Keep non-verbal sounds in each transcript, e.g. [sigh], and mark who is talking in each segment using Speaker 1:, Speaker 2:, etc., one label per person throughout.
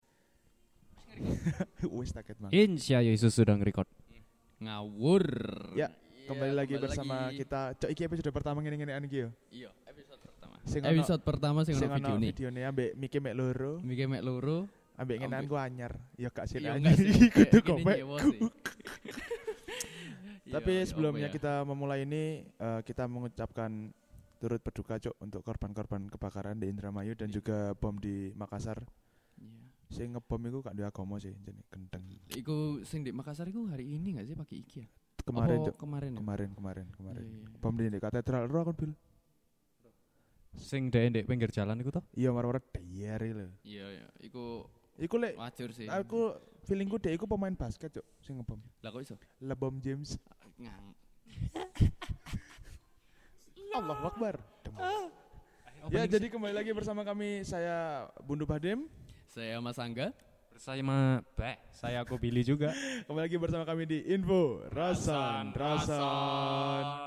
Speaker 1: [laughs] Wis taket
Speaker 2: Iya,
Speaker 1: banget.
Speaker 3: Insya Yesus sudah nge-record
Speaker 2: Ngawur.
Speaker 1: Ya, Kembali lagi bersama kita. Cok iki episode pertama ngene-ngene an iki yo.
Speaker 2: Iya, episode pertama.
Speaker 1: Sing ono-
Speaker 2: Episode pertama sing
Speaker 1: sing
Speaker 2: ono
Speaker 1: ono
Speaker 2: videone.
Speaker 1: videone ambek Miki mek loro,
Speaker 2: Miki mek loro.
Speaker 1: ambek ngenan
Speaker 2: Ambek-
Speaker 1: ku anyar. Ya gak sih anyar. [laughs]
Speaker 2: Iya, enggak sih.
Speaker 1: Kudu
Speaker 2: Kayak gini
Speaker 1: gobek.
Speaker 2: nyewa sih. Iya,
Speaker 1: Tapi
Speaker 2: iya, apa
Speaker 1: sebelumnya
Speaker 2: ya?
Speaker 1: kita memulai ini eh, kita mengucapkan turut berduka cok untuk korban-korban kebakaran di Indramayu dan juga bom di Makassar.
Speaker 2: Iya.
Speaker 1: Sing ngebom iku gak di agama sih, jadi gendeng.
Speaker 2: Iku sing di Makassar iku hari ini enggak sih pagi iki ya?
Speaker 1: Kemarin
Speaker 2: Apa
Speaker 1: cok,
Speaker 2: kemarin ya?
Speaker 1: kemarin kemarin kemarin.
Speaker 2: Iya, iya, iya.
Speaker 1: Bom di katedral ro kan bil.
Speaker 3: Sing dek dek pinggir jalan itu toh
Speaker 1: Iya marwara diare lho.
Speaker 2: Iya, iya. Iku
Speaker 1: Iku lek
Speaker 2: wajur sih.
Speaker 1: aku feelingku dia iku pemain basket cok sing ngebom.
Speaker 2: Lah kok iso?
Speaker 1: Lebom James.
Speaker 2: Ngang.
Speaker 1: Allah Akbar. Ya
Speaker 2: Opening
Speaker 1: jadi kembali lagi bersama kami saya Bundu Badim.
Speaker 2: Saya Mas Angga.
Speaker 3: Bersama Bek Saya aku pilih juga [laughs]
Speaker 1: Kembali lagi bersama kami di Info Rasan Rasan.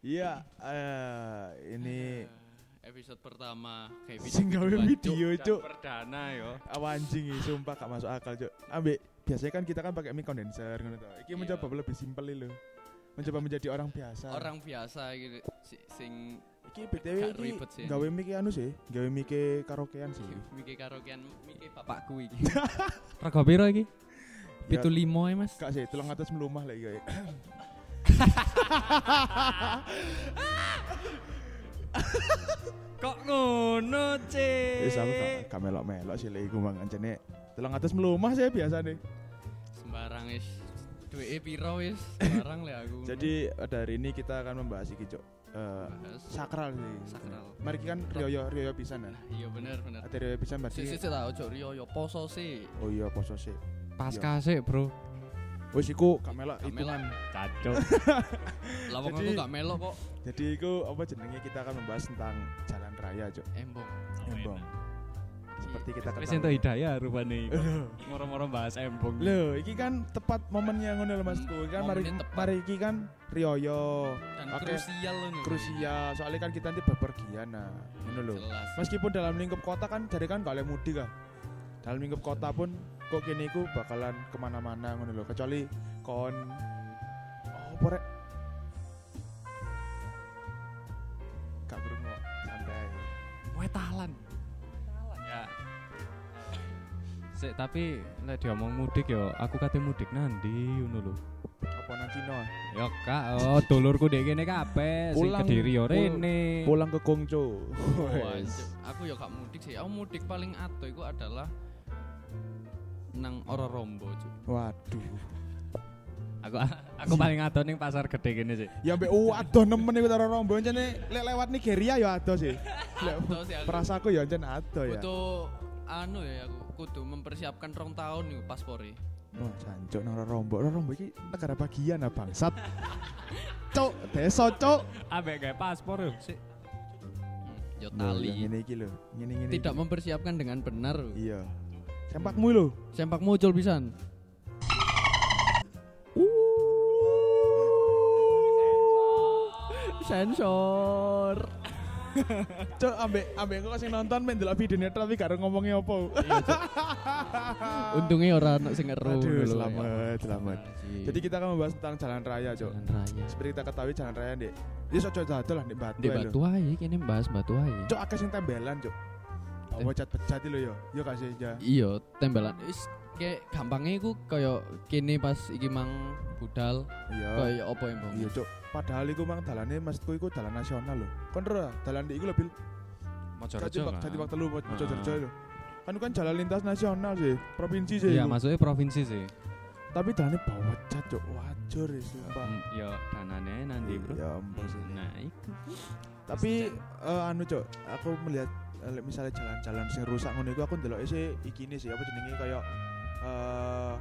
Speaker 1: Iya, eh, ini
Speaker 2: Episode pertama kayak
Speaker 1: sing gawe
Speaker 2: kedua, Cuk.
Speaker 1: video cuk.
Speaker 3: Perdana yo
Speaker 1: Awan anjing iki, sumpah gak masuk akal cuk. Ambek biasanya kan kita kan pakai mic condenser ngono to. Iki
Speaker 2: Iya.
Speaker 1: mencoba lebih simpel lho. Mencoba menjadi orang biasa.
Speaker 2: orang biasa gitu si- sing
Speaker 1: iki BTW
Speaker 2: gak
Speaker 1: iki
Speaker 2: ribet sih.
Speaker 1: gawe mic anu sih, gawe mic karaokean sih.
Speaker 2: mikir karaokean mikir bapakku iki [laughs]
Speaker 3: Rego piro iki?
Speaker 1: Ya,
Speaker 2: pitu limo ya mas
Speaker 1: Kak sih, tulang atas melumah lah iya.
Speaker 3: Kok ngono
Speaker 1: Wis aku gak- gak melok-melok sih lek iku mang jane tulang atas melumah sih biasa nih.
Speaker 2: Hmm. sembarang is duwe piro wis sembarang lah aku
Speaker 1: Jadi pada hari ini kita akan membahas iki cuk. Eh,
Speaker 2: Bahas.
Speaker 1: sakral sih.
Speaker 2: Sakral.
Speaker 1: Mari kita kan rioyo rioyo pisan ya.
Speaker 2: nah iya bener bener
Speaker 1: Ada rioyo pisan
Speaker 2: si si
Speaker 1: berarti.
Speaker 2: si tau cok rio yo poso sih
Speaker 1: Oh iya poso sih.
Speaker 3: Pas kasih bro
Speaker 1: Wis iku gak melok
Speaker 2: Gak melok.
Speaker 1: hitungan.
Speaker 3: Kacau
Speaker 2: lawang aku
Speaker 1: Jadi-
Speaker 2: gak melok kok
Speaker 1: Jadi iku apa jenenge kita akan membahas tentang jalan raya cuk.
Speaker 2: embong
Speaker 1: [laughs] Embong.
Speaker 2: Iya,
Speaker 1: Seperti kita
Speaker 3: Wis entuk
Speaker 1: ketahui.
Speaker 3: hidayah rupane iku.
Speaker 1: Aduh.
Speaker 3: Moro-moro bahas embung.
Speaker 1: Loh, iki kan tepat momennya ngono lho Mas. Ku. Iki Kan mari
Speaker 2: Momennya tepat.
Speaker 1: mari iki kan Rioyo.
Speaker 2: dan
Speaker 1: Oke.
Speaker 2: krusial loh
Speaker 1: Krusial, soalnya kan kita nanti bepergian nah. Ngono lho.
Speaker 2: jelas
Speaker 1: Meskipun dalam lingkup kota kan jadi kan gak boleh mudik ah. Dalam lingkup kota pun kok kene iku bakalan kemana-mana ngono lho. Kecuali kon Oh, apa rek? Gak krungu, santai.
Speaker 3: Kowe talan. Talan ya. Sik, tapi nek diomong mudik yo, aku kate mudik nandi ngono lho.
Speaker 1: Apa nang Cina?
Speaker 3: Yo kak, oh dulurku dek kene kabeh, sing
Speaker 1: Pulang-
Speaker 3: Kediri yo
Speaker 1: pul-
Speaker 3: rene.
Speaker 1: Pulang ke Kongco.
Speaker 2: Wah,
Speaker 1: Wes.
Speaker 2: Cuk. aku yo gak mudik sih aku mudik paling ato iku adalah nang Ororombo
Speaker 1: Oh,
Speaker 2: cuk
Speaker 1: Waduh.
Speaker 3: Aku [laughs] aku paling adoh ning pasar gede kene sih.
Speaker 1: Ya mbek oh, adoh nemen iku karo rombongan jane lek lewat Nigeria ya adoh sih. Lek
Speaker 2: Ato sih aku
Speaker 1: perasaku ya jane adoh ya.
Speaker 2: Kudu anu ya aku kudu mempersiapkan rong tahun nih paspore.
Speaker 1: Wah, jancuk nang rombok. Rombok iki negara bagian ah bangsat. Cok, desa cok.
Speaker 3: Ambek gawe paspor yo. Sik.
Speaker 2: Yo
Speaker 1: Loh,
Speaker 2: tali.
Speaker 1: Ngene iki lho. Ngene ngene.
Speaker 2: Tidak
Speaker 1: iki.
Speaker 2: mempersiapkan dengan benar.
Speaker 1: Iya. Sempakmu lho.
Speaker 2: Sempak muncul pisan. Sensor.
Speaker 1: Cok, ambek ambek engko sing nonton men delok videone tapi gak ngomongnya opo.
Speaker 2: Iya, Untungnya orang anak sing ngeru
Speaker 1: Aduh,
Speaker 2: dulu ya.
Speaker 1: selamat, selamat. Jadi gitu, kita akan membahas tentang jalan raya, Cok.
Speaker 2: jalan raya.
Speaker 1: Seperti kita ketahui jalan raya, Dek. Ya sojo jadol lah, Dek Batu.
Speaker 2: Di
Speaker 1: ae lho.
Speaker 2: batu aja, kini bahas batu aja.
Speaker 1: Cok, akeh sing tembelan, Cok.
Speaker 3: Eh.
Speaker 1: Apa cat-pecat lho yo. Yo ya. kasih aja.
Speaker 2: Iya, tembelan. Is kayak gampangnya iku kayak kini pas iki mang budal
Speaker 1: Iya.
Speaker 2: kayak apa yang bang?
Speaker 1: Iya, Cok. Padahal iku mang dalane maksudku iku dalan nasional lho. Kon ora dalan di iku lho, Bil.
Speaker 3: Mojorejo.
Speaker 1: Jatibak, Jatibak telu mau
Speaker 3: kan? Heeh.
Speaker 1: Mojokerto itu. Kan itu kan jalan lintas nasional sih, provinsi sih.
Speaker 3: Iya,
Speaker 1: itu.
Speaker 3: masuknya provinsi sih.
Speaker 1: Tapi jalannya bawa cat, cok. Wajar ya, sumpah.
Speaker 3: Hmm, Yo danane nandi, Bro.
Speaker 1: Ya ampun sih.
Speaker 3: Nah, iku.
Speaker 1: Tapi eh, anu cok, aku melihat eh, like, misalnya jalan-jalan sing rusak ngono iku aku ndelok sih iki ini sih apa jenenge kayak eh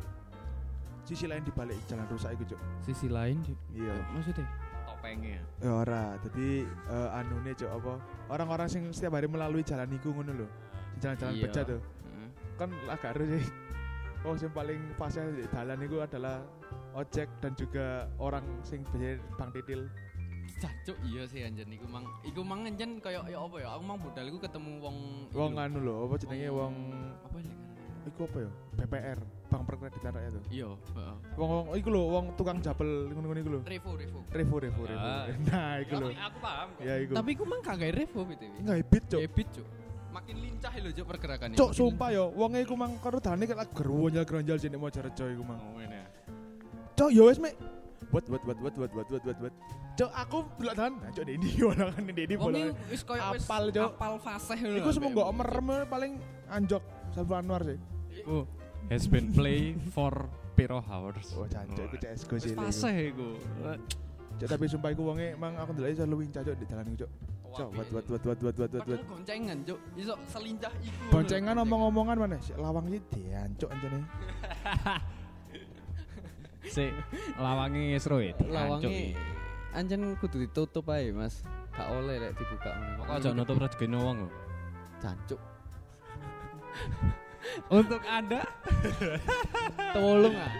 Speaker 1: sisi lain di balik jalan rusak iku, cok.
Speaker 2: Sisi lain di-
Speaker 1: Iya.
Speaker 2: maksudnya
Speaker 3: topengnya.
Speaker 1: Ya ora, dadi eh, anune cok apa? Orang-orang sing setiap hari melalui jalan iku ngono lho. Jalan-jalan
Speaker 2: Iya.
Speaker 1: pecah tuh. kan agak harus sih oh yang paling fase di dalan itu adalah ojek dan juga orang sing biasanya bang titil
Speaker 2: Cacuk iya sih anjen iku mang iku mang anjen koyo ya apa ya aku mang budal iku ketemu wong
Speaker 1: wong
Speaker 2: anu
Speaker 1: anu lho apa jenenge wong
Speaker 2: apa ya ngarannya?
Speaker 1: iku apa ya BPR bank perkreditan rakyat tuh
Speaker 2: Iya, heeh.
Speaker 1: wong wong iku lho wong tukang jabel ngono-ngono iku lho
Speaker 2: Revo, Revo.
Speaker 1: revo revo revo
Speaker 3: Ah.
Speaker 1: [laughs] nah iku
Speaker 2: Aku,
Speaker 1: lho
Speaker 2: aku paham kok.
Speaker 1: ya iku
Speaker 2: Ya. Tapi iku mang kagak Revo BTW.
Speaker 1: nggak ibit cok
Speaker 2: Ebit, Cuk. Makin lincah lho Cuk pergerakannya.
Speaker 1: cok
Speaker 2: Makin
Speaker 1: sumpah yo wonge iku mang karo dane kayak lagu gerwonyal gronjal jenenge Mojorejo iku mang
Speaker 2: lincah. Oh, ini ya.
Speaker 1: Cok, yo wes mek. Buat buat buat buat buat buat buat buat buat. Cok, aku belak tahan. Nah, cok [laughs] Dedi orang kan Dedi
Speaker 2: Wong
Speaker 1: bola.
Speaker 2: iki wis koyo wis
Speaker 1: Apal, Cuk.
Speaker 2: apal fase lho.
Speaker 1: Iku semua gak merem eh, paling anjok Sabu Anwar sih.
Speaker 3: Iku has been play for piro hours.
Speaker 1: Oh, jancok iku CS:GO
Speaker 2: Wis
Speaker 1: sih. lho.
Speaker 2: fase iku.
Speaker 1: Cok, tapi sumpah iku wonge emang aku ndelok iso luwih cocok di dalan iku, cok. Cok, buat buat buat buat buat buat buat buat.
Speaker 2: Padahal goncengan, Cuk. Iso selincah iku. lho,
Speaker 1: Boncengan omong-omongan mana? Si lawang iki diancok anjene.
Speaker 3: Si lawangi Sroid.
Speaker 2: Lawange anjen kudu ditutup ae, Mas. Gak oleh lek dibuka ngono.
Speaker 3: Kok aja nutup rezeki wong lho.
Speaker 2: Jancuk.
Speaker 3: Untuk Anda
Speaker 2: Tolong ah.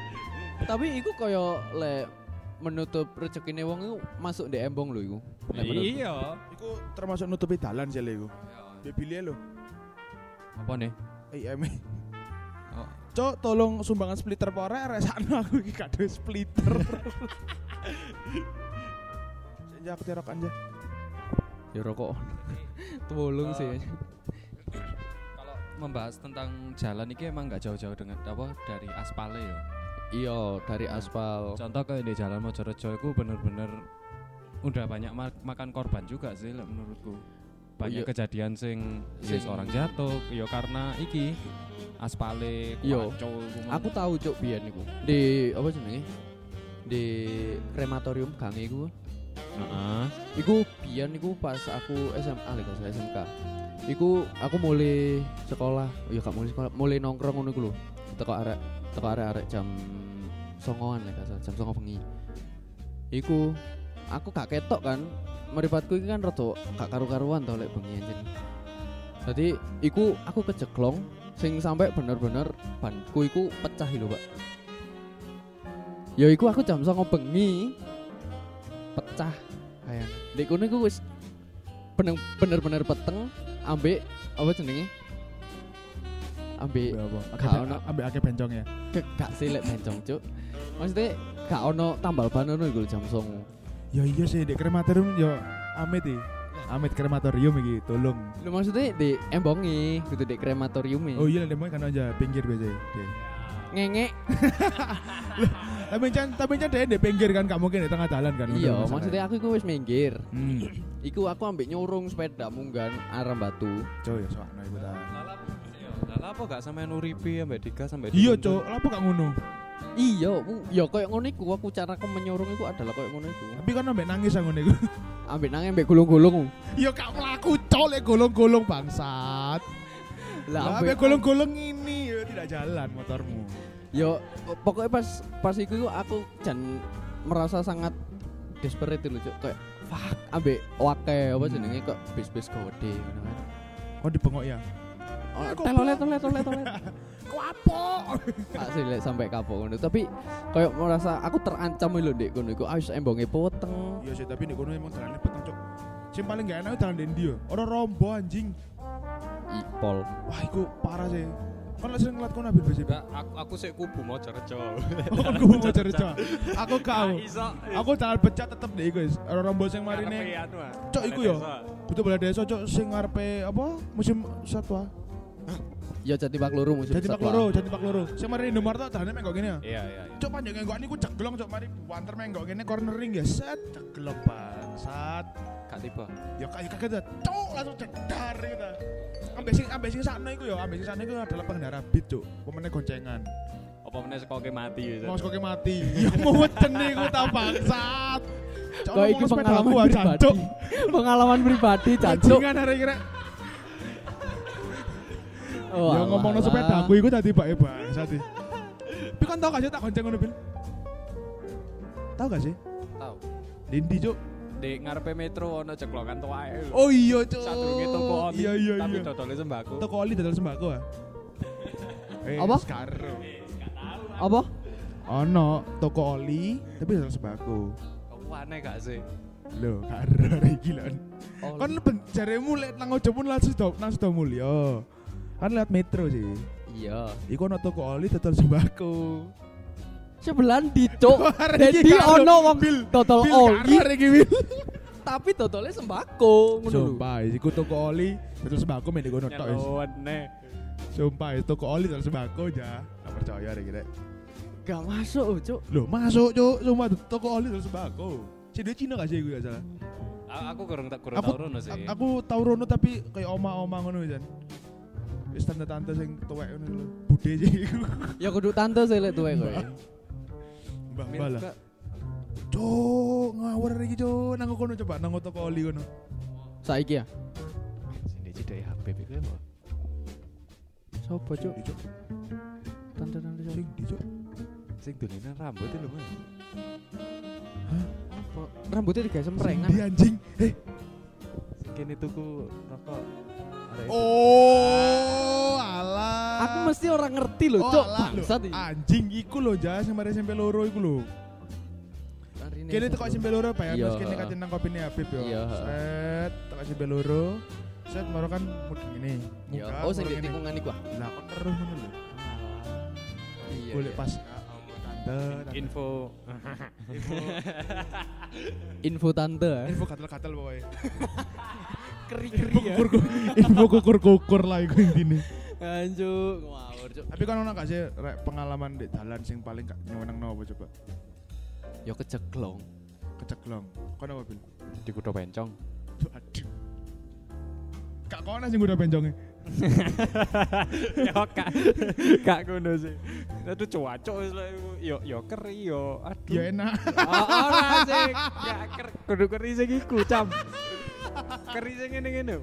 Speaker 2: Tapi iku koyo lek menutup rezekine wong iku masuk di embong lho iku. Lek menurutku.
Speaker 3: Iya.
Speaker 1: Iku termasuk nutupi dalan sih lho iku. Ya pilih lho.
Speaker 3: Apa nih?
Speaker 1: Iya, me.
Speaker 2: Oh.
Speaker 1: Cok, tolong sumbangan splitter pora resakno aku iki gak ada splitter. Senja aku terok aja.
Speaker 2: Ya rokok. [laughs] Tolong sih.
Speaker 3: Kalau membahas tentang jalan ini emang nggak jauh-jauh dengan apa dari aspalnya ya.
Speaker 2: Iya, dari aspal.
Speaker 3: Contoh kayak di jalan Mojorejo itu bener-bener udah banyak ma- makan korban juga sih lek menurutku. Banyak
Speaker 2: Iya.
Speaker 3: kejadian sing,
Speaker 2: Sing-
Speaker 3: ya seorang jatuh, ya karena iki aspale
Speaker 2: Iya.
Speaker 3: kuaco, kuman.
Speaker 2: Aku tahu cok biyen iku. Di apa jenenge? Di krematorium gange iku.
Speaker 3: Heeh.
Speaker 2: Iku biyen iku pas aku SMA lek gak salah SMK. Iku aku mulai sekolah, ya gak mulai sekolah, mulai nongkrong ngono iku lho. Teko arek teko arek-arek jam songoan lek gak salah, jam songo bengi. Iku aku gak ketok kan. Meripatku iki kan rada gak karu-karuan to lek bengi anjen. Jadi iku aku kejeklong sing sampai bener-bener banku iku pecah lho, Pak. Ya iku aku jam songo bengi pecah kayak di kono iku wis bener bener bener peteng ambek apa jenenge ambek
Speaker 1: apa?
Speaker 2: Gak ono.
Speaker 1: Ambil akeh bencong ya.
Speaker 2: ke- gak silek bencong cuk maksudnya gak ono tambal ban ono iku jam songo
Speaker 1: Ya iya sih di krematorium yo amit iki. Amit krematorium iki tolong.
Speaker 2: Lho maksudnya di embongi gitu di krematorium
Speaker 1: Oh iya lah demoy kan aja pinggir biasa. Dek.
Speaker 2: ngengek
Speaker 1: Tapi kan tapi kan dia di pinggir kan gak mungkin di tengah jalan kan.
Speaker 2: iya maksudnya aku iku wis minggir
Speaker 1: Hmm.
Speaker 2: iku aku ambek nyurung sepeda munggan arah batu
Speaker 1: Cok ya soalnya iku ta.
Speaker 3: Lah apa gak sampe nuripi sampe Dika sampe
Speaker 1: Iya cok,
Speaker 3: dituntut?
Speaker 1: lapo gak ngono.
Speaker 2: iya aku- ya koyo ngono iku aku cara aku menyurung iku adalah koyo ngono iku
Speaker 1: Tapi kan ambek nangis aku niku. [laughs]
Speaker 2: ambek nang ambek gulung-gulung
Speaker 1: Yo gak mlaku cok lek golong-golong bangsat. Lah ambek golong-golong ini yo tidak jalan motormu.
Speaker 2: Yo pokoknya pas pas iku iku aku jan merasa sangat desperate lho cuk kayak fuck ambek wake apa
Speaker 1: Hmm.
Speaker 2: jenenge kok bis-bis gede ngono kan.
Speaker 1: Oh dibengok ya.
Speaker 2: Oh,
Speaker 1: Kok
Speaker 2: telolet
Speaker 1: apa?
Speaker 2: telolet telolet telolet.
Speaker 1: Kok apa?
Speaker 2: Tak silek sampai kapok ngono. Tapi kayak merasa aku terancam lho ndek kono iku wis embonge poteng.
Speaker 1: [laughs] Iya sih, tapi di kono emang jalannya peteng cok. Sing paling gak enak itu jalan dendi yo. Orang rombo anjing.
Speaker 2: Ipol.
Speaker 1: Wah, iku parah sih. Kan lek sering ngeliat kono ambil
Speaker 2: [laughs]
Speaker 1: BCB.
Speaker 3: Enggak, aku aku sik kubu Mojorejo. [laughs]
Speaker 1: Oh, kan gue mau cari cok. Aku kau.
Speaker 3: Iso.
Speaker 1: Aku jalan pecah tetep deh guys. Orang rombo sing marine. Cok, iku yo. Butuh bela desa cok sing ngarepe apa musim satwa.
Speaker 2: Ya jati pak loro musim
Speaker 1: Jadi Pak
Speaker 2: satwa.
Speaker 1: Loro, jadi Pak Loro. Sing marine Indomaret jalannya menggok gini ya.
Speaker 3: Iya iya iya.
Speaker 1: Cok panjang enggak niku ceglong cok mari buanter menggok gini cornering ya set ceglong bangsat.
Speaker 3: Gak tiba.
Speaker 1: ya kayak kaget dah cok langsung cedar gitu ambil sing ambil sing sakno iku ya ambil sing sakno iku adalah pengendara beat cok pemenang goncengan
Speaker 3: Apa meneh sekoke mati ya.
Speaker 1: mau sekoknya mati [laughs] ya mau cene iku tak bangsat cok
Speaker 2: Kok iki
Speaker 1: ngomong sepeda
Speaker 2: pengalaman
Speaker 1: aku aja
Speaker 2: pribadi.
Speaker 1: cok
Speaker 2: pengalaman pribadi jancuk.
Speaker 1: goncengan hari kira
Speaker 2: Oh,
Speaker 1: ya
Speaker 2: alah,
Speaker 1: ngomong
Speaker 2: alah.
Speaker 1: sepeda aku iku tadi bae bangsat sih tapi kan tau gak sih tak gonceng ngono bil tau gak sih
Speaker 3: Tau.
Speaker 1: Dindi cok
Speaker 3: Di ngarepe metro ono ceklokan tuae. lho.
Speaker 1: oh iya cok
Speaker 3: Sadurunge toko oli,
Speaker 1: iya iya
Speaker 3: tapi
Speaker 1: iya
Speaker 3: dodole sembako.
Speaker 1: ya?
Speaker 3: [laughs]
Speaker 1: toko oli dadal sembako ah Eh,
Speaker 2: Apa?
Speaker 1: Skaro.
Speaker 2: Apa?
Speaker 1: Ono toko oli tapi harus sembako.
Speaker 3: Kamu aneh gak sih?
Speaker 1: Lho, [laughs] karo iki lho.
Speaker 2: Oh,
Speaker 1: Kon ben jaremu lek nang ojo pun langsung do nang sudah mulya. Kan lewat metro sih.
Speaker 2: iya.
Speaker 1: Iku ono toko oli total sembako.
Speaker 2: Sebelan
Speaker 1: [laughs]
Speaker 2: dicok. Oh, Jadi
Speaker 1: Karo-
Speaker 2: ono wong
Speaker 1: Bil.
Speaker 2: total
Speaker 1: Bil
Speaker 2: oli
Speaker 1: karo iki Bil.
Speaker 2: tapi totalnya sembako ngono lho.
Speaker 1: Sumpah, iku toko oli total sembako mending kono tok. wis.
Speaker 3: aneh.
Speaker 1: Sumpah, wis, toko oli total sembako ya. Gak percaya rek iki rek.
Speaker 2: Gak masuk, Cuk.
Speaker 1: Loh, masuk cuk, sumpah toko oli total sembako. Si dia Cina gak sih gue gak salah.
Speaker 3: Aku kurang tak kurang
Speaker 1: Aku-
Speaker 3: tahu rono sih.
Speaker 1: A- aku tau rono tapi kayak oma-oma ngono jan. Wis tante-tante sing tuwek ngono lho. Budhe sih [laughs] iku.
Speaker 2: Ya kudu tante sih lek tuwe
Speaker 1: Iya.
Speaker 2: kowe.
Speaker 1: Mbah-mbah
Speaker 3: Mil-
Speaker 1: lah. Cuk, ngawur iki cuk. Nang kono coba nang toko oli ngono.
Speaker 2: Saiki ya.
Speaker 3: Sini cedek HP iku ya, Mbak.
Speaker 2: Sopo, Cuk?
Speaker 1: Di, Cuk.
Speaker 2: Tante-tante
Speaker 1: Sing
Speaker 2: sing
Speaker 1: di, Cuk.
Speaker 3: Sing dolenan rambut lho, Mas.
Speaker 2: apa? Rambutnya digawe
Speaker 1: Sing
Speaker 2: semprengan.
Speaker 1: di anjing. Eh,
Speaker 3: Sing kene tuku rokok. Arek itu.
Speaker 1: oh, alah.
Speaker 2: Aku mesti orang ngerti lho,
Speaker 1: Oh,
Speaker 2: Cuk.
Speaker 1: alah, lho.
Speaker 2: Bangsat iki.
Speaker 1: Anjing iku lho, Jas, yang mari SMP loro iku lho.
Speaker 2: Arine
Speaker 1: Kene teko
Speaker 2: satu.
Speaker 1: SMP loro bayar
Speaker 2: Iya.
Speaker 1: terus kene kajen nang kopine Habib yo.
Speaker 2: Iya.
Speaker 1: Set, teko SMP loro. Set moro kan mudeng ngene.
Speaker 2: Iya.
Speaker 1: Munggah,
Speaker 2: Oh, sing
Speaker 1: moro
Speaker 2: di
Speaker 1: ngene.
Speaker 2: tikungan iku. ah.
Speaker 1: Lah kon terus ngono lho.
Speaker 2: Iya.
Speaker 1: Golek
Speaker 2: iya.
Speaker 1: pas ah, Allah, tante, tante.
Speaker 3: Info
Speaker 2: Info tante. ah.
Speaker 1: Info eh. katel-katel pokoknya.
Speaker 2: [laughs] Keri-keri ya.
Speaker 1: Kukur- Info kukur-kukur lah iku intine.
Speaker 2: Anjuk, ngawur, Cuk.
Speaker 1: Tapi kan ono gak sih rek, pengalaman di dalan sing paling gak nyenengno apa coba?
Speaker 2: Ya keceklong.
Speaker 1: Keceklong. Kon apa bil?
Speaker 3: di Kuto Bencong.
Speaker 1: Duh, Aduh. Kak kono sing udah benjonge.
Speaker 3: [laughs] ya kak kak ngono sih itu cuaco wis lah iku. yo yo keri yo aduh
Speaker 1: Ya enak.
Speaker 3: Oh, ora sih ya ker kudu keri sing iku cam keri sing ngene ngene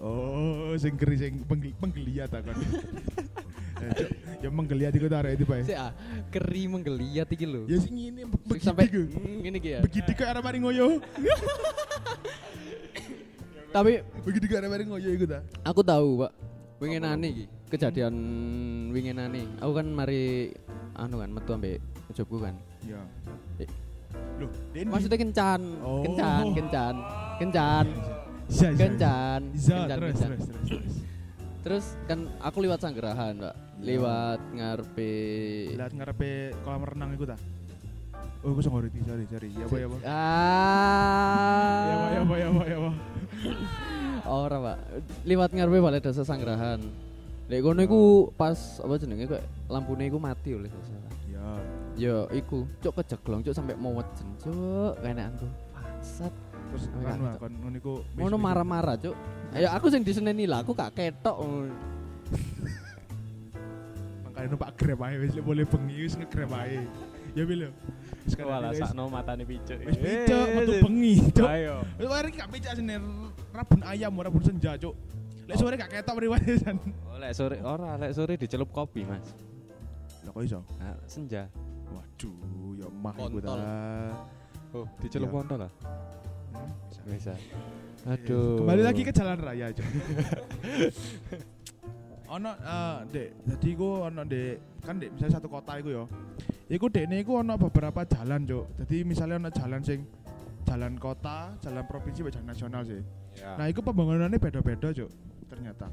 Speaker 1: Oh, sing keri sing penggel- penggeliat
Speaker 2: [laughs]
Speaker 1: aku. Eh, Cuk, ya menggeliat iku tarik itu bae.
Speaker 2: Sik ah, keri menggeliat iki lho.
Speaker 1: Ya sing ngene be-
Speaker 2: Sing
Speaker 1: begitu.
Speaker 2: sampai
Speaker 1: ku.
Speaker 2: Hmm, ngene iki ya.
Speaker 1: Begitu kok arep mari ngoyo.
Speaker 2: Tapi
Speaker 1: Begitu kok arep mari ngoyo iku ta.
Speaker 2: aku tahu, Pak. Wingenane iki, kejadian wingenane. Aku kan mari anu kan metu ambek jobku kan.
Speaker 1: Ya.
Speaker 2: Eh.
Speaker 1: Loh, Dendi.
Speaker 2: Maksudnya kencan,
Speaker 1: Oh.
Speaker 2: kencan, kencan, kencan,
Speaker 1: Iya, iya, iya.
Speaker 2: kencan,
Speaker 1: Iya,
Speaker 2: kencan,
Speaker 1: terus,
Speaker 2: kencan.
Speaker 1: terus, terus, terus.
Speaker 2: Terus kan aku lewat sanggerahan, Pak.
Speaker 1: Iya.
Speaker 2: Lewat ngarepe Iya.
Speaker 1: Lihat ngarepe kolam renang iku ta. Oh, aku sing ngerti, sorry, sorry. Ya apa ya apa.
Speaker 2: Ah.
Speaker 1: Ya apa ya apa ya apa ya apa.
Speaker 2: Oh, Ora, Pak. Liwat ngarepe balai desa Sanggerahan. Lek kono iku pas apa jenenge kok lampune iku mati oleh gak salah.
Speaker 1: Ya.
Speaker 2: Yo iku, cuk kejeglong cuk sampe mowet jen, cuk kenaanku. Bangsat.
Speaker 1: Terus
Speaker 2: Oh,
Speaker 1: kan
Speaker 2: iya,
Speaker 1: wah,
Speaker 2: Cuk.
Speaker 1: kon ngono iku.
Speaker 2: Ngono
Speaker 1: besok-
Speaker 2: marah-marah cuk. Ayo aku sing diseneni lah, aku gak ketok.
Speaker 1: Makanya numpak grab ae wis boleh bengi wis nge-grab ae. Ya bil. ya. Sekarang
Speaker 3: wala
Speaker 1: ini, guys.
Speaker 3: sakno matane picuk Eh,
Speaker 1: Wis picok metu bengi, cuk.
Speaker 3: ayo
Speaker 1: Wis wae iki gak picok sini rabun ayam ora rabun senja, cuk. Lek sore gak ketok mriwayat san.
Speaker 3: Oh, lek sore ora lek sore dicelup kopi mas
Speaker 1: Lah kok iso?
Speaker 3: Nah, senja
Speaker 1: Waduh, ya mah iku ta.
Speaker 2: Kontol.
Speaker 3: oh dicelup
Speaker 1: Iya.
Speaker 3: kontol lah
Speaker 1: Hmm, bisa.
Speaker 3: bisa aduh
Speaker 1: Iya. Kembali lagi ke jalan raya, cuk. [laughs] ono eh, Dek, jadi gua ono Dek, kan Dek misalnya satu kota iku ya. Iku Dekne iku ono beberapa jalan, cuk. Jadi misalnya ono jalan sing jalan kota, jalan provinsi, jalan nasional sih.
Speaker 3: Iya.
Speaker 1: Nah, itu pembangunannya beda-beda, Cuk. Ternyata.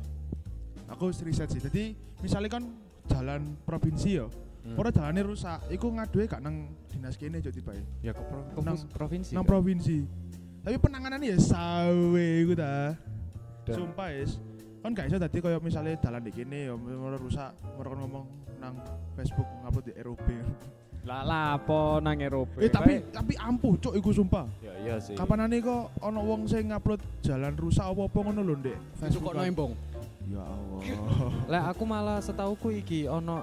Speaker 1: Aku riset sih. Jadi, misalnya kan jalan provinsi ya,
Speaker 3: Hmm.
Speaker 1: ora jalannya rusak, iku ngaduhe gak nang dinas kene Cuk tibae.
Speaker 3: ya ke pro- ke
Speaker 1: Nang-
Speaker 3: provinsi
Speaker 1: Nang
Speaker 3: kan?
Speaker 1: provinsi. Tapi penanganannya ya sawe iku ta.
Speaker 3: Dan-
Speaker 1: Sumpah is. Kan gak iso dadi koyo misalnya jalan di kene ya ora rusak, ora kon ngomong nang Facebook ngupload di ROB.
Speaker 3: lah lapo nang Eropa
Speaker 1: Eh tapi tapi ampuh cuk iku sumpah.
Speaker 3: ya iya sih
Speaker 1: Kapanane kok ana wong sing ngupload jalan rusak apa-apa ngono lho, Ndek.
Speaker 2: Cuk kok
Speaker 1: Facebookan.
Speaker 2: nembong.
Speaker 1: Ya
Speaker 2: [laughs]
Speaker 1: Allah.
Speaker 3: Lah aku malah setauku iki ono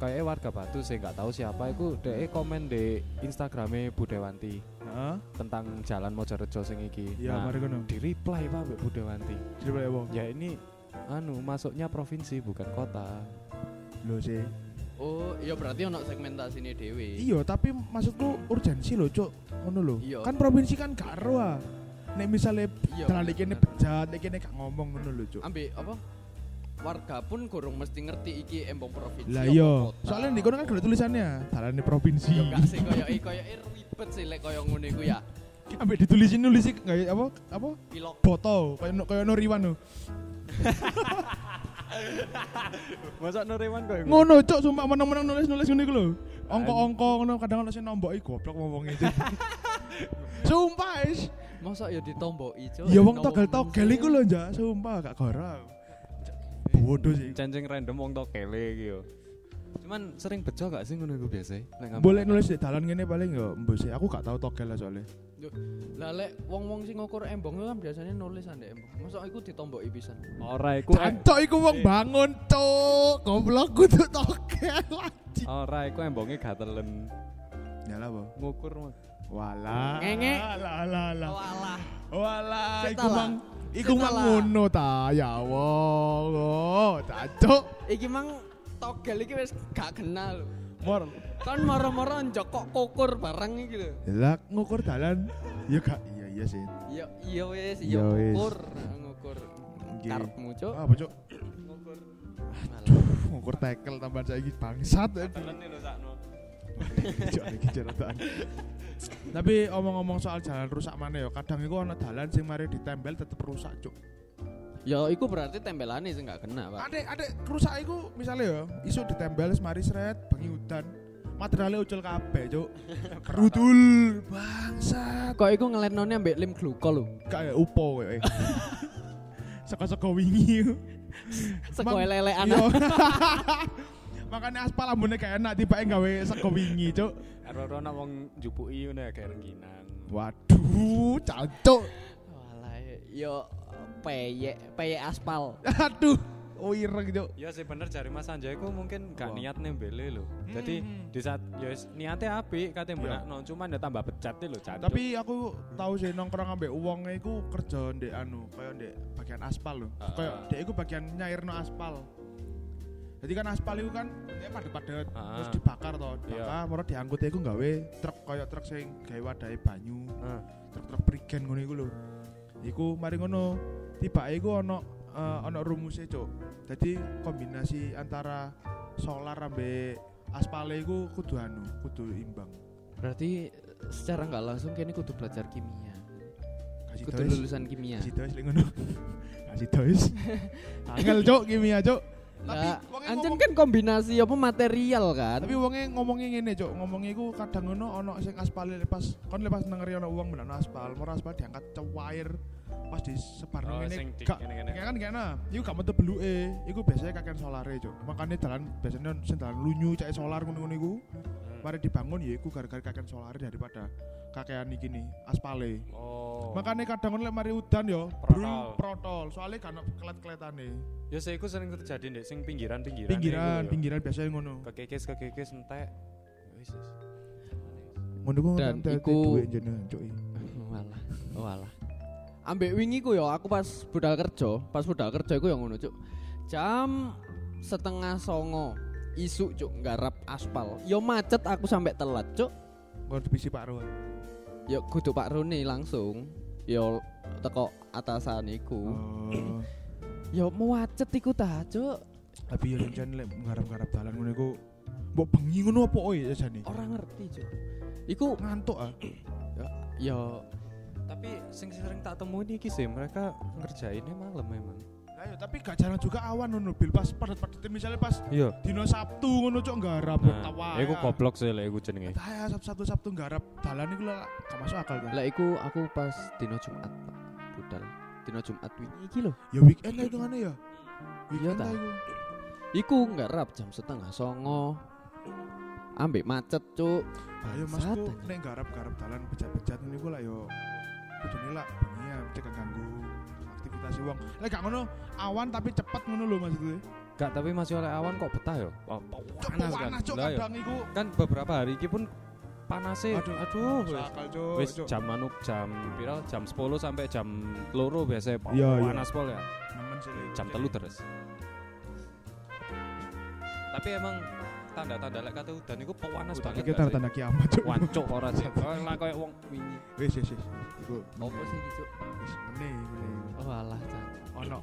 Speaker 3: kayak warga Batu sih nggak tahu siapa iku dhek komen di Instagrame Bu Dewanti
Speaker 1: Heeh.
Speaker 3: tentang jalan Mojorejo sing iki.
Speaker 1: Ya,
Speaker 3: nah,
Speaker 1: mari kono.
Speaker 3: di reply Pak Mbak Bu Dewanti.
Speaker 1: Coba ya, Bang.
Speaker 3: Ya ini anu masuknya provinsi bukan kota.
Speaker 1: Lho sih.
Speaker 2: Oh, iya berarti ono segmentasine dhewe.
Speaker 1: Iya, tapi maksudku urgensi lho, Cuk. Ngono lho.
Speaker 2: Iya.
Speaker 1: Kan provinsi kan gak ero ah. Nek misale
Speaker 2: Iya.
Speaker 1: dalan iki ne bejat, iki ne gak ngomong ngono lho, Cuk.
Speaker 2: Ambek apa? warga pun gorong mesti ngerti iki embong provinsi.
Speaker 1: Lah
Speaker 2: apa
Speaker 1: iya,
Speaker 2: kota.
Speaker 1: soalnya di kono kan ada tulisannya, dalan di provinsi.
Speaker 2: Yo gak sih koyo iki koyo ribet sih lek koyo ngene iku ya.
Speaker 1: Ambek ditulisin nulis kayak apa? Apa?
Speaker 2: Pilok.
Speaker 1: Boto, kayak no- kayak Noriwan no.
Speaker 3: [laughs] Masa Norewan kok iku?
Speaker 1: Ngono cok, sumpah menang-menang nulis-nulis ngene iku lho. Angka-angka ngono kadang ono sing nombok iku goblok wong-wong itu.
Speaker 3: [laughs]
Speaker 1: Sumpah is.
Speaker 2: Mosok ya ditomboki cuk.
Speaker 1: Ya wong togel-togel iku lho, Nja, sumpah gak gora. Bodoh sih.
Speaker 3: Cancing random wong tok kele iki yo. Cuman sering bejo gak sih ngono iku biasa? Lek ngambil-
Speaker 1: Boleh nulis di dalan ngene paling yo mbok sih. Aku gak tau togel lah soalnya.
Speaker 2: Lah lek wong-wong sing ngukur embong itu kan biasanya nulis ndek embong. Mosok iku ditomboki pisan.
Speaker 3: Ora iku em-
Speaker 1: Cancok iku wong bangun cok, goblok kudu togel lagi.
Speaker 3: ora iku embonge gatelen
Speaker 1: Ya lah, Bo.
Speaker 3: ngukur. mah.
Speaker 1: Walah.
Speaker 2: Ngenge.
Speaker 1: Lah lah lah.
Speaker 2: Walah.
Speaker 1: Walah,
Speaker 2: Cetak
Speaker 1: iku
Speaker 2: lah.
Speaker 1: mang iku
Speaker 2: Cetak
Speaker 1: mang
Speaker 2: lah.
Speaker 1: ngono ta, ya Allah, cacok.
Speaker 2: Iki mang togel iki wis gak kenal.
Speaker 1: Mor.
Speaker 2: Kan moro-moro njok kok kukur bareng iki lho.
Speaker 1: Lah ngukur dalan. Ya gak iya iya sih.
Speaker 2: Ya iya wis,
Speaker 1: Ya
Speaker 2: ya
Speaker 1: wis.
Speaker 2: ngukur, ngukur
Speaker 1: Nggih.
Speaker 2: karepmu cuk.
Speaker 1: Ah, bocok
Speaker 2: Ngukur.
Speaker 1: ngukur tackle tambahan saiki bangsat. Cok, iki cerotan. Tapi omong-omong soal jalan rusak mana ya, kadang iku ana dalan sing mari ditempel tetep rusak, Cuk.
Speaker 2: Ya iku berarti tempelane sing gak kena, Pak.
Speaker 1: Adek, adek rusak iku misalnya ya, isu ditempel semari seret bengi udan. Materialnya ucul kabeh, Cuk. Rudul bangsat.
Speaker 2: Kok iku ngelenone ambek lem glukol lho.
Speaker 1: Kayak upo kowe. Saka-saka wingi.
Speaker 2: Seko elelekan.
Speaker 1: Iya. [laughs] Makanya aspal ambune kayak enak tiba gawe saka wingi, Cuk.
Speaker 3: Ora ana wong njupuki ya, ngene gak rengginan.
Speaker 1: Waduh, cacok.
Speaker 2: Walah, yo peyek, peyek aspal.
Speaker 1: [laughs] Aduh, wireng, Cuk.
Speaker 3: Ya sih bener jari Mas Anjay ku mungkin gak
Speaker 1: Wah.
Speaker 3: niat nembele lho. Jadi
Speaker 1: Hmm.
Speaker 3: di saat ya wis niate apik kate mbenakno cuman ya tambah pecat lho canduk.
Speaker 1: Tapi aku tahu sih nongkrong ambek uangnya iku kerja ndek anu, kayak ndek bagian aspal loh.
Speaker 3: Ah.
Speaker 1: Kayak ndek iku bagian nyairno aspal. Jadi kan aspal itu kan dia padet-padet
Speaker 3: Ah.
Speaker 1: terus dibakar toh.
Speaker 3: Iya.
Speaker 1: Dibakar moro diangkut iku gawe truk kayak truk sing gawe wadahe banyu,
Speaker 3: Heeh.
Speaker 1: truk-truk prigen ngono iku lho. Iku mari ngono, tiba iku ono eh, ono rumuse, Cuk. Jadi kombinasi antara solar ambek aspale iku kudu anu, kudu imbang.
Speaker 2: Berarti secara nggak langsung kene kudu belajar kimia.
Speaker 1: Kasih
Speaker 2: Kudu
Speaker 1: tois.
Speaker 2: lulusan kimia.
Speaker 1: Kasih tois lek ngono. [laughs] Kasih tois. Angel cok kimia cok. Tapi
Speaker 2: Lah,
Speaker 1: wonge
Speaker 2: ancen
Speaker 1: ngomong-
Speaker 2: kan kombinasi apa material kan.
Speaker 1: Tapi wonge ngomongnya ngene cok, ngomongnya iku kadang ngono ono sing aspal lepas, kon lepas nengeri ono uang benar aspal, mau aspal diangkat cewair pas disebar
Speaker 3: Oh,
Speaker 1: ngene
Speaker 3: sing di-
Speaker 1: gak
Speaker 3: ngene-ngene.
Speaker 1: Ya kan gak enak, iku gak metu beluke, iku biasanya kakek solare cok. Makanya dalan biasanya sing dalan lunyu cek solar ngono-ngono iku,
Speaker 3: Hmm.
Speaker 1: mari dibangun ya iku gara-gara kakek solare daripada kakean iki nih aspale.
Speaker 3: Oh.
Speaker 1: Makanya kadang lek mari udan yo,
Speaker 3: Protol.
Speaker 1: brul protol. Soalnya kan kelet-keletane.
Speaker 3: Ya sih iku sering terjadi ndek sing pinggiran-pinggiran.
Speaker 1: Pinggiran, pinggiran biasanya ngono.
Speaker 3: Kekekes kekekes entek. Wis wis.
Speaker 1: Ngono ku
Speaker 2: Dan
Speaker 1: nanti
Speaker 2: iku-
Speaker 1: duit jenengan, Cuk.
Speaker 2: Walah, walah. Ambek wingi ku yo aku pas budal kerja, pas budal kerja iku yo ngono cuk. Jam setengah songo isu cuk nggarap aspal. Yo macet aku sampai telat cuk.
Speaker 1: Ngono dibisi Pak
Speaker 2: Uh.
Speaker 1: Roy.
Speaker 2: Yo kudu Pak Roni langsung. Yo teko atasan iku.
Speaker 1: Oh.
Speaker 2: Yo macet iku ta cuk.
Speaker 1: Tapi yo rencana lek nggarap-nggarap dalan ngono iku mbok bengi ngono apa oe jane?
Speaker 2: Orang ngerti cuk. Iku ya
Speaker 1: ngantuk ah.
Speaker 2: yo
Speaker 3: Tapi sing sering tak temui iki sih mereka ngerjainnya malam memang.
Speaker 1: Lah yo tapi gak jarang juga awan ngono bil pas padet-padet misalnya pas
Speaker 3: Iya.
Speaker 1: dino Sabtu ngono Cuk nggarap
Speaker 3: Nah,
Speaker 1: tawa.
Speaker 3: iku goblok sih lek iku jenenge.
Speaker 1: Taya Sabtu Sabtu nggarap dalan iku lah gak masuk akal kan.
Speaker 2: lah iku aku pas dino Jumat Pak. budal. Dino Jumat wingi iki lho.
Speaker 1: Ya weekend lah hitungane ya. Weekend
Speaker 2: ta.
Speaker 1: lah iku.
Speaker 2: Iku nggarap jam setengah songo. Ambek macet cuk.
Speaker 1: Ayo mas
Speaker 2: Bangsat
Speaker 1: ku
Speaker 2: anjing.
Speaker 1: nek garap garap dalan pejat-pejat ini ku lah yo kudune lah bengi ya cek ganggu aktivitas wong. Lek gak ngono awan tapi cepet ngono lho maksudku.
Speaker 3: Gak tapi masih oleh awan kok betah yo. Oh,
Speaker 1: Cuk
Speaker 3: panas kan.
Speaker 1: panas cuk
Speaker 3: Lah, yo.
Speaker 1: kadang iku.
Speaker 3: Kan beberapa hari iki pun panasnya
Speaker 1: Aduh.
Speaker 3: aduh,
Speaker 1: Masuk
Speaker 3: wis.
Speaker 1: akal, cuk.
Speaker 3: wis
Speaker 1: Cuk.
Speaker 3: jam anu jam pira jam 10 sampai jam loro biasanya Pak.
Speaker 1: Iya, iya.
Speaker 3: panas pol ya.
Speaker 1: Nemen sih, Lek.
Speaker 3: Jam
Speaker 1: Cek.
Speaker 3: telu terus. Tapi emang tanda-tanda lek kate udan iku pewanas
Speaker 1: Udah
Speaker 3: banget.
Speaker 1: Kita
Speaker 3: gak sih?
Speaker 1: tanda kiamat cuk.
Speaker 3: Wancuk
Speaker 4: [laughs]
Speaker 3: ora sih. Oh, Lah koyo wong wingi.
Speaker 1: Wis wis wis. Iku
Speaker 2: Apa sih iki cuk?
Speaker 1: wis mene mene.
Speaker 2: Oh alah Cak.
Speaker 1: Ono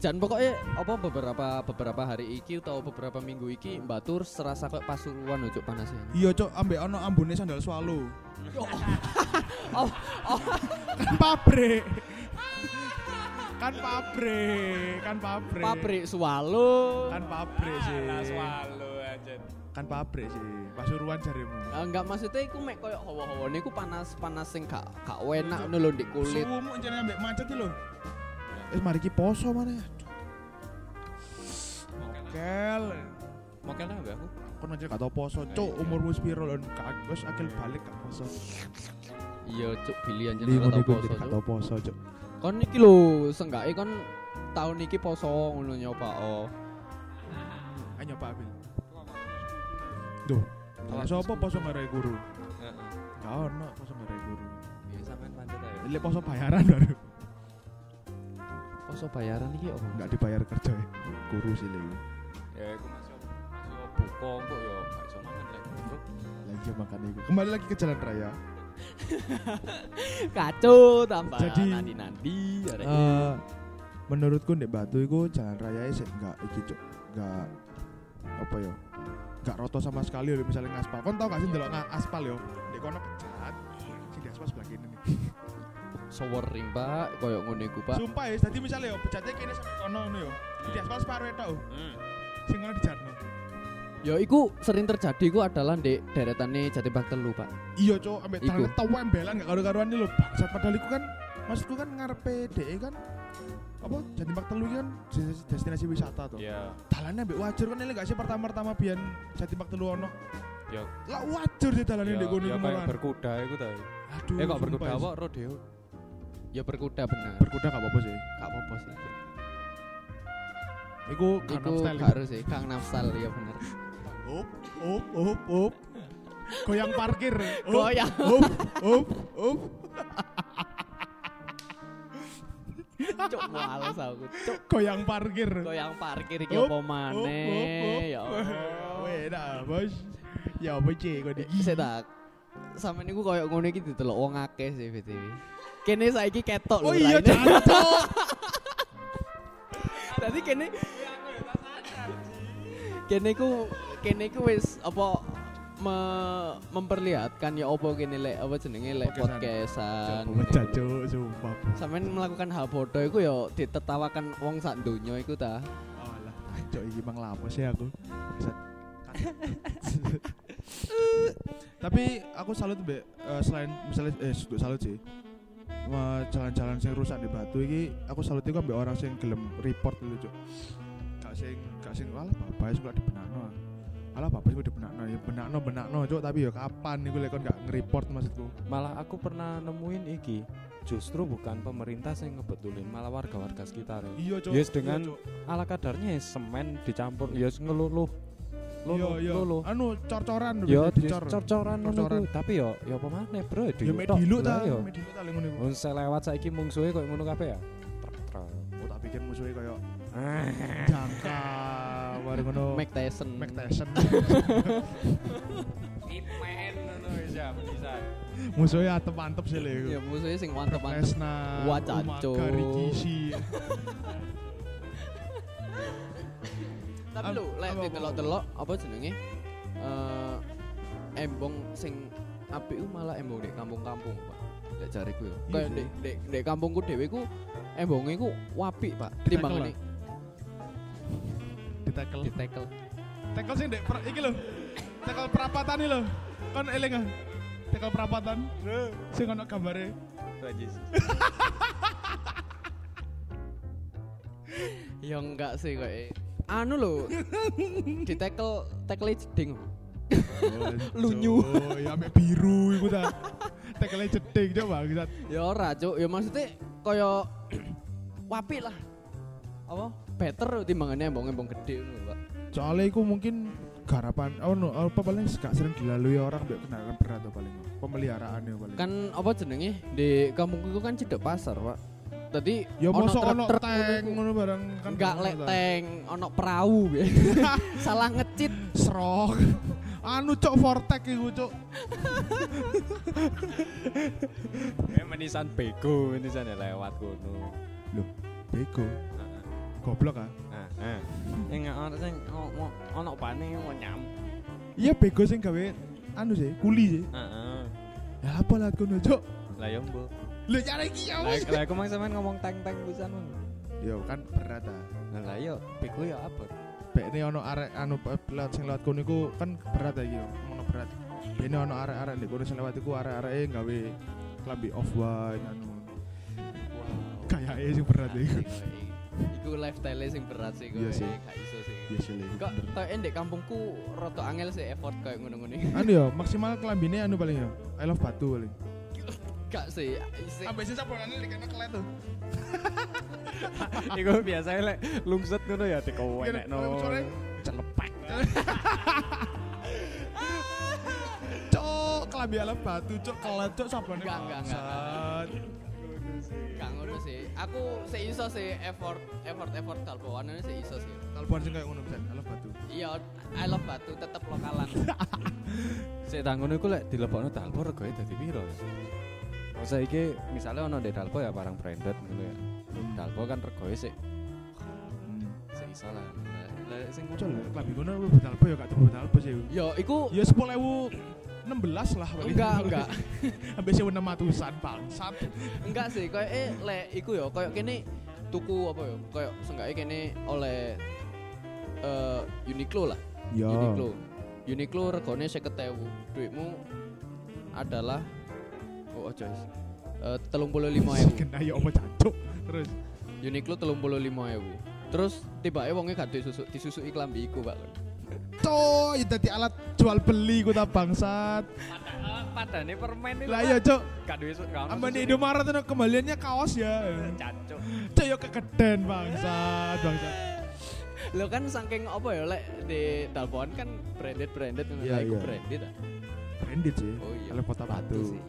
Speaker 2: Jan pokoknya apa beberapa beberapa hari iki atau beberapa minggu iki Batur serasa kok pasuruan ujuk panasnya.
Speaker 1: Iya cok, ambek ono ambune sandal swallow.
Speaker 2: [laughs] Oh,
Speaker 1: kan pabrik. kan pabrik, kan pabrik.
Speaker 2: Pabrik swalo.
Speaker 1: Kan pabrik sih.
Speaker 4: Alah, swalo aja.
Speaker 1: Kan pabrik sih. Pasuruan jarimu.
Speaker 2: Eh, enggak maksudnya iku mek koyo hawa-hawane iku panas-panas sing gak gak enak ngono lho ndek kulit.
Speaker 1: Suwumu jane ambek macet iki lho. Eh mari ki poso mana ya? Kel.
Speaker 4: Mokel nang aku.
Speaker 1: Kon aja gak tau poso, cuk. Umurmu sepiro lho? Kak wis akil balik gak poso.
Speaker 2: Iya, cuk pilihan
Speaker 1: Li
Speaker 2: jeneng
Speaker 1: ngono
Speaker 2: kata
Speaker 1: iku
Speaker 2: poso.
Speaker 1: gak
Speaker 2: Cuk.
Speaker 1: tau poso, cuk.
Speaker 2: Kon iki lho senggake kon tahun iki poso ngono nyoba oh.
Speaker 1: Ayo Pak Abil. Duh, salah sapa poso ngarai guru?
Speaker 4: Heeh.
Speaker 1: Gak ono poso ngarai guru.
Speaker 4: Ya sampean pantet ae.
Speaker 1: Lek poso bayaran baru.
Speaker 2: Poso bayaran iki oh.
Speaker 1: Enggak dibayar kerja ya. Guru sih lek.
Speaker 4: Ya iku masuk. Masuk buka kok ya gak iso mangan lek.
Speaker 1: Lagi makan iya, iku. Kembali lagi ke jalan raya.
Speaker 2: Kacau tambah
Speaker 1: Jadi-
Speaker 2: nanti-nanti arek.
Speaker 1: Eh, menurutku ndek Batu iku jalan raya sih enggak iki cuk. Enggak apa ya? Enggak roto sama sekali oleh misalnya ngaspal. Kon tau gak sih ndelok nga- aspal yo? Ndek kono pecat. Sing di aspal sebelah kene nih.
Speaker 2: Sower ring, Pak, koyo ngene iku, Pak.
Speaker 1: Sumpah ya, tadi misalnya yo pecatnya kene sampe kono ngono yo. Di aspal separuh tok.
Speaker 4: Iya.
Speaker 1: oh.
Speaker 4: Hmm.
Speaker 1: Sing kono dijarno.
Speaker 2: Ya iku sering terjadi iku adalah ndek deretane Jati Bak telu, Pak.
Speaker 1: Iya cok, ambek
Speaker 2: Iku.
Speaker 1: tangan tau embelan gak karo-karuan iki lho bangsat padahal iku kan maksudku kan ngarepe DE kan apa jadi bak telu iki kan destinasi- destinasi wisata to.
Speaker 4: Ya,
Speaker 3: Iya.
Speaker 1: Dalane ambek wajur kan ini gak sih pertama-tama biyen jadi bak telu ono.
Speaker 4: Ya.
Speaker 1: Lah wajur di dalane
Speaker 3: Iya,
Speaker 4: ya,
Speaker 1: ndek kono iku
Speaker 4: ya kayak
Speaker 1: Kan malah.
Speaker 4: berkuda iku ta.
Speaker 1: Aduh.
Speaker 4: Eh kok
Speaker 1: sumpah
Speaker 4: berkuda
Speaker 1: sih.
Speaker 4: kok rodeo.
Speaker 2: Ya berkuda bener.
Speaker 1: Berkuda gak apa-apa sih.
Speaker 2: Gak apa-apa sih.
Speaker 1: Iku
Speaker 2: Iku
Speaker 1: Gangnam Style.
Speaker 2: gak harus sih, Gangnam Style ya bener.
Speaker 1: Up, up, up,
Speaker 4: [laughs]
Speaker 1: up. Goyang parkir. Up,
Speaker 2: Goyang.
Speaker 1: Up, up, up.
Speaker 2: Cuk males aku. Cuk
Speaker 1: Goyang parkir.
Speaker 2: goyang parkir iki
Speaker 1: Up,
Speaker 2: apa
Speaker 1: Up, up, up.
Speaker 2: maneh ya.
Speaker 1: Oh, Weh, dah, Bos. Ya apa sih kok iki?
Speaker 2: Saya tak sama niku koyo ngono iki didelok wong akeh sih BTW. Kene saiki ketok
Speaker 1: Oh
Speaker 2: lho.
Speaker 1: iya,
Speaker 2: raine. [laughs]
Speaker 1: jancok.
Speaker 2: Dadi kene kene ku kene ku wis apa me, memperlihatkan ya apa kene lek apa jenenge lek
Speaker 1: Podcastan.
Speaker 2: podcastan.
Speaker 1: Pecah cuk, sumpah.
Speaker 2: Sampeyan melakukan hal bodoh iku ya ditertawakan wong sak donya iku ta.
Speaker 1: Alah, cuk iki mang lapos ya aku. Set. [laughs] Tapi aku salut be eh, selain misalnya eh sudah salut sih. Eh, jalan-jalan sing rusak di Batu iki aku salut iku ambek orang sing gelem report dulu cuk. Gak sing gak sing alah bapak suka dibenakno. ah?" Alah bapak suka dibenakno ya benakno benakno cuk tapi ya kapan iku lek kon gak nge-report maksudku.
Speaker 3: Malah aku pernah nemuin iki. Justru bukan pemerintah yang ngebetulin, malah warga-warga sekitar.
Speaker 1: Iya cuk.
Speaker 3: Yes,
Speaker 1: iya,
Speaker 3: dengan-
Speaker 1: Cuk.
Speaker 3: Ala kadarnya ya semen dicampur, ya ngeluluh.
Speaker 1: Iya,
Speaker 3: Luluh,
Speaker 1: iya.
Speaker 3: luluh.
Speaker 1: Anu cor-coran
Speaker 3: Ya
Speaker 1: biasanya dicor.
Speaker 3: cor-coran ngono
Speaker 1: Cor-coran.
Speaker 3: ku. Tapi ya ya apa maneh, Bro?
Speaker 1: Ya
Speaker 3: Diutok.
Speaker 1: medilu
Speaker 3: Lah,
Speaker 1: ta,
Speaker 3: ya.
Speaker 1: medilu ta lek ngono iku.
Speaker 3: Mun saya lewat saiki mungsuhe koyo ngono kabeh ya.
Speaker 1: Oh tak pikir musuhnya kayak
Speaker 3: [laughs]
Speaker 1: jangka baru ngono
Speaker 2: Mike Tyson.
Speaker 1: Oh. Mac
Speaker 3: [laughs]
Speaker 1: Tyson.
Speaker 4: Ipen ngono wis ya bisa.
Speaker 1: musuhnya atep mantep sih lho.
Speaker 2: Ya
Speaker 3: Iya,
Speaker 1: iku.
Speaker 2: musuhnya sing
Speaker 1: Brock
Speaker 2: mantep-mantep.
Speaker 1: Lesnar,
Speaker 2: Wah,
Speaker 1: Umaga,
Speaker 2: cacok.
Speaker 1: Rikishi.
Speaker 2: Tapi lho, lek
Speaker 1: Apa, apa,
Speaker 2: delok-delok apa jenenge? Eh embong sing apik ku malah embong di kampung-kampung, Pak. Lek jariku ya.
Speaker 1: Iya
Speaker 2: Kayak
Speaker 1: sih.
Speaker 2: di di di kampungku dhewe ku embonge ku apik, Pak.
Speaker 1: Ditekel
Speaker 2: Timbangane
Speaker 1: Ditekel.
Speaker 2: ditekel.
Speaker 1: Tekel sih Dek. Per- iki lho. Tekel perapatan iki lho. Kon eling ah. Tekel perapatan. Sing ono gambare.
Speaker 4: Rajis.
Speaker 2: Ya enggak sih kok. eh. Anu
Speaker 1: [laughs]
Speaker 2: lho, ditekel tekele jeding. Lunyu.
Speaker 1: Oh, ya ame biru iku
Speaker 3: [laughs]
Speaker 1: ta. Tekele jeding coba kita.
Speaker 2: Ya ora, Cuk. Ya maksudnya kaya [clears throat] apik lah. Apa? Better timbangane embong-embong gede ngono, Pak.
Speaker 1: Soalnya iku mungkin garapan oh no, apa paling gak sering dilalui orang mbek kendaraan berat atau paling pemeliharaan ya paling.
Speaker 2: kan apa jenenge di kampungku itu kan cedek pasar pak tadi
Speaker 1: Ya mosok ono
Speaker 2: truk-truk
Speaker 1: tank
Speaker 2: ngono iku.
Speaker 1: ngono barang kan.
Speaker 2: enggak
Speaker 1: ono
Speaker 2: lek
Speaker 1: ta.
Speaker 2: tank ono
Speaker 1: [laughs]
Speaker 2: perahu [laughs] ya. salah ngecit
Speaker 1: Serok. [laughs] Anu cok Vortex iku cok.
Speaker 4: Eh menisan bego menisan ya Uh, lewat kono.
Speaker 1: Bego.
Speaker 4: Heeh.
Speaker 1: goblok ah
Speaker 4: Heeh.
Speaker 3: Ning ana sing ana pane nyam.
Speaker 1: iya bego sing gawe anu sih kuli sih
Speaker 4: Heeh.
Speaker 1: ya apa lah kono cok
Speaker 4: Lah yo mbok.
Speaker 1: lu cara iki ya
Speaker 3: Lah
Speaker 1: wes.
Speaker 3: lah aku mang sampean ngomong teng-teng pisan. Mun.
Speaker 1: ya kan berat ah
Speaker 3: Nah, Lah yo beku yo apa?
Speaker 1: bekne ono arek anu pe- lewat sing lewat kono iku kan berat ya iki ono berat bekne ono arek-arek ndek kono sing lewat iku arek-areke gawe klambi off white anu kayak sing berat ya iku
Speaker 2: Iku lifestyle sing berat sih kowe.
Speaker 1: Iya sih.
Speaker 2: Gak iso sih.
Speaker 1: ya sih lah, iku
Speaker 2: Kok
Speaker 1: bener.
Speaker 2: koyo ndek kampungku rada angel sih effort koyo ngono-ngono. [laughs] iki.
Speaker 1: anu ya maksimal klambine anu paling ya I love batu paling
Speaker 2: Gak sih. sih.
Speaker 1: sih sablonane dikene kelet tuh Ah.
Speaker 3: Iku biasane lek lungset ngono
Speaker 1: Iya,
Speaker 3: ya dikowenekno.
Speaker 1: celepek [laughs] cok klambi I love batu cok kelet cok sablone
Speaker 2: Enggak, enggak, enggak.
Speaker 1: bangsat.
Speaker 2: Gak ngono sih. Aku sih iso sih effort effort effort kalboan ini sih iso sih.
Speaker 1: Kalbuan sing kayak ngono pisan I love batu
Speaker 2: Iya, I love Batu tetep
Speaker 1: [laughs]
Speaker 2: lokalan.
Speaker 3: Sik tak ngono iku lek dilebokno dalpo regoe dadi piro ya? Kok saiki misale ana ndek dalpo ya barang branded ngono ya. Dalpo kan regoe sik
Speaker 1: Hmm.
Speaker 3: sik iso lah. Lah- Lah sing
Speaker 1: Cok lek klambi kono betal ya gak temu betal sih
Speaker 2: Yo, iku
Speaker 1: Ya sepuluh ewu enam belas lah paling.
Speaker 2: enggak
Speaker 1: [laughs]
Speaker 2: enggak
Speaker 1: Habis ewu enam ratusan bangsat.
Speaker 2: enggak sih koyo eh lek iku yo koyo kene tuku apa yo koyo seenggaknya kene oleh eh Uniqlo lah Uniqlo Uniqlo regane 50.000 duitmu adalah oh ojo is Eh, 35.000
Speaker 1: Kena ya apa cancuk. Terus
Speaker 2: Uniqlo 35.000 terus tibake wonge gak disusuk disusuki klambi iku Pak
Speaker 1: coy ya dadi alat jual beli ku ta bangsat.
Speaker 3: padane permen
Speaker 1: Lah ya cok,
Speaker 3: gak duwe
Speaker 1: amben di Indomaret ono kembaliannya kaos ya. Cok ya kekeden bangsat, bangsat.
Speaker 2: Lo kan saking apa ya lek di Dalpon kan branded branded
Speaker 1: Iya,
Speaker 2: iku
Speaker 1: iya.
Speaker 2: branded ah.
Speaker 1: Branded sih.
Speaker 2: Oh iya.
Speaker 1: Oleh Kota Batu.
Speaker 2: sih.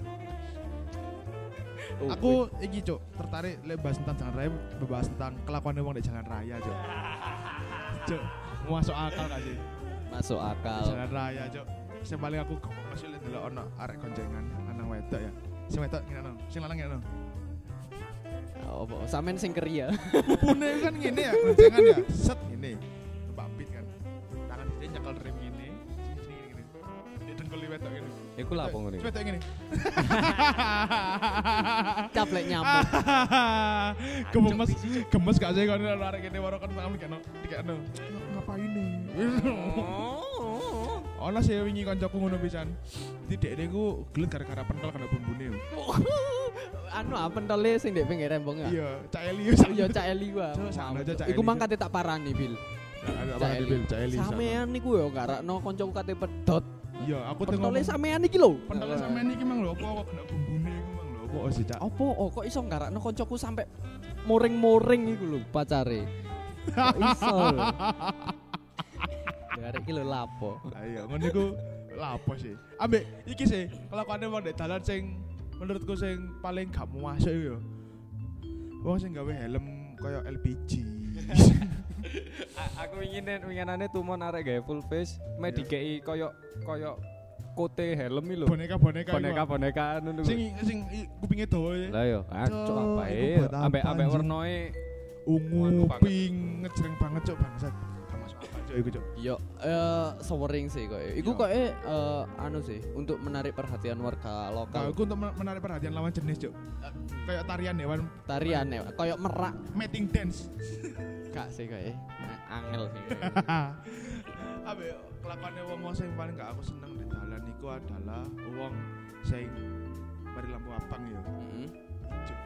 Speaker 2: Oh,
Speaker 1: Aku iki cok tertarik lek bahas tentang jalan raya, bahas tentang kelakuan wong di jalan raya cok. Cok, masuk akal gak sih?
Speaker 2: masuk akal.
Speaker 1: jalan raya cok sing paling aku kok masih lihat dulu ono arek konjengan lanang wedok ya sing wedok ngene nang sing lanang ngene nang
Speaker 2: Oh, apa? Samen sing keri ya.
Speaker 1: pune kan ngene ya konjengan ya set ngene numpak pit kan tangan dia nyekel rem ngene sini ngene ngene dia dengkul wedok ngene
Speaker 3: Iku lah apa ngene.
Speaker 1: Terus wedok ngene
Speaker 2: [laughs] Caplek nyamuk.
Speaker 1: [laughs] gemes gemes gak sih kono arek ngene waro kan tangan kene dikene ngapain nih
Speaker 3: Oh.
Speaker 1: Ono sih wingi kancaku ngono pisan. Jadi dek niku geleng gara-gara pentol kena bumbune. yo.
Speaker 2: anu apa pentole sing ndek pinggir rembong ya.
Speaker 1: Iya, Cak Eli yo sak.
Speaker 2: Yo cak Eli wae.
Speaker 1: Cuk, sama aja Cak
Speaker 2: Iku
Speaker 1: Eli,
Speaker 2: mang
Speaker 1: Cuk.
Speaker 2: kate tak parani Bil.
Speaker 1: Nah,
Speaker 2: Cak
Speaker 1: apa
Speaker 2: Eli.
Speaker 1: Bil, Cak Eli. sama.
Speaker 2: Samean niku yo garakno kancaku kate pedot.
Speaker 1: Iya, aku tengok.
Speaker 2: Pentole samean iki lho.
Speaker 1: Pentole sampean iki mang lho apa kok kena bumbune iku mang lho apa sih Cak.
Speaker 2: Apa oh, kok iso garakno kancaku sampe moring-moring iku lho pacare. Kok
Speaker 1: [laughs]
Speaker 2: iso. lho. Garek iki lho lapo.
Speaker 1: Lah iya, ngono iku lapo sih. Ambek iki sih kelakuane wong ndek dalan sing menurutku sing paling gak muasik iku yo. Wong sing gawe helm kaya
Speaker 2: [laughs]
Speaker 1: LPG.
Speaker 3: Aku ingin winginane tumon arek gawe full face, me dikeki koyo koyo kote helm iki lho.
Speaker 1: Boneka-boneka. iku.
Speaker 3: Boneka-boneka ngono.
Speaker 1: sing sing i- kupinge dawa ya.
Speaker 3: Lah yo, acok
Speaker 1: Cok,
Speaker 3: apa
Speaker 1: iku
Speaker 3: e?
Speaker 1: buat apa,
Speaker 3: Ambek e. ambek
Speaker 1: anjing?
Speaker 3: wernoe Anu
Speaker 1: ungu
Speaker 3: banget.
Speaker 1: pink ngejreng banget cok bangsat Gak masuk akal cok iku cok
Speaker 2: Yo, eh sewering sih kok. Iku
Speaker 1: Yo.
Speaker 2: kok eh anu sih untuk menarik perhatian warga
Speaker 1: kalau
Speaker 2: lokal.
Speaker 1: aku untuk men- menarik perhatian lawan jenis cok kayak tarian hewan
Speaker 2: Tarian ya, koyok merak
Speaker 1: mating [laughs] dance
Speaker 2: gak sih kok eh. Angel sih. [laughs] kok.
Speaker 1: abe kelakuannya wong wong yang paling gak aku seneng di dalan iku adalah wong sing mari lampu abang ya
Speaker 2: Hmm.
Speaker 1: cok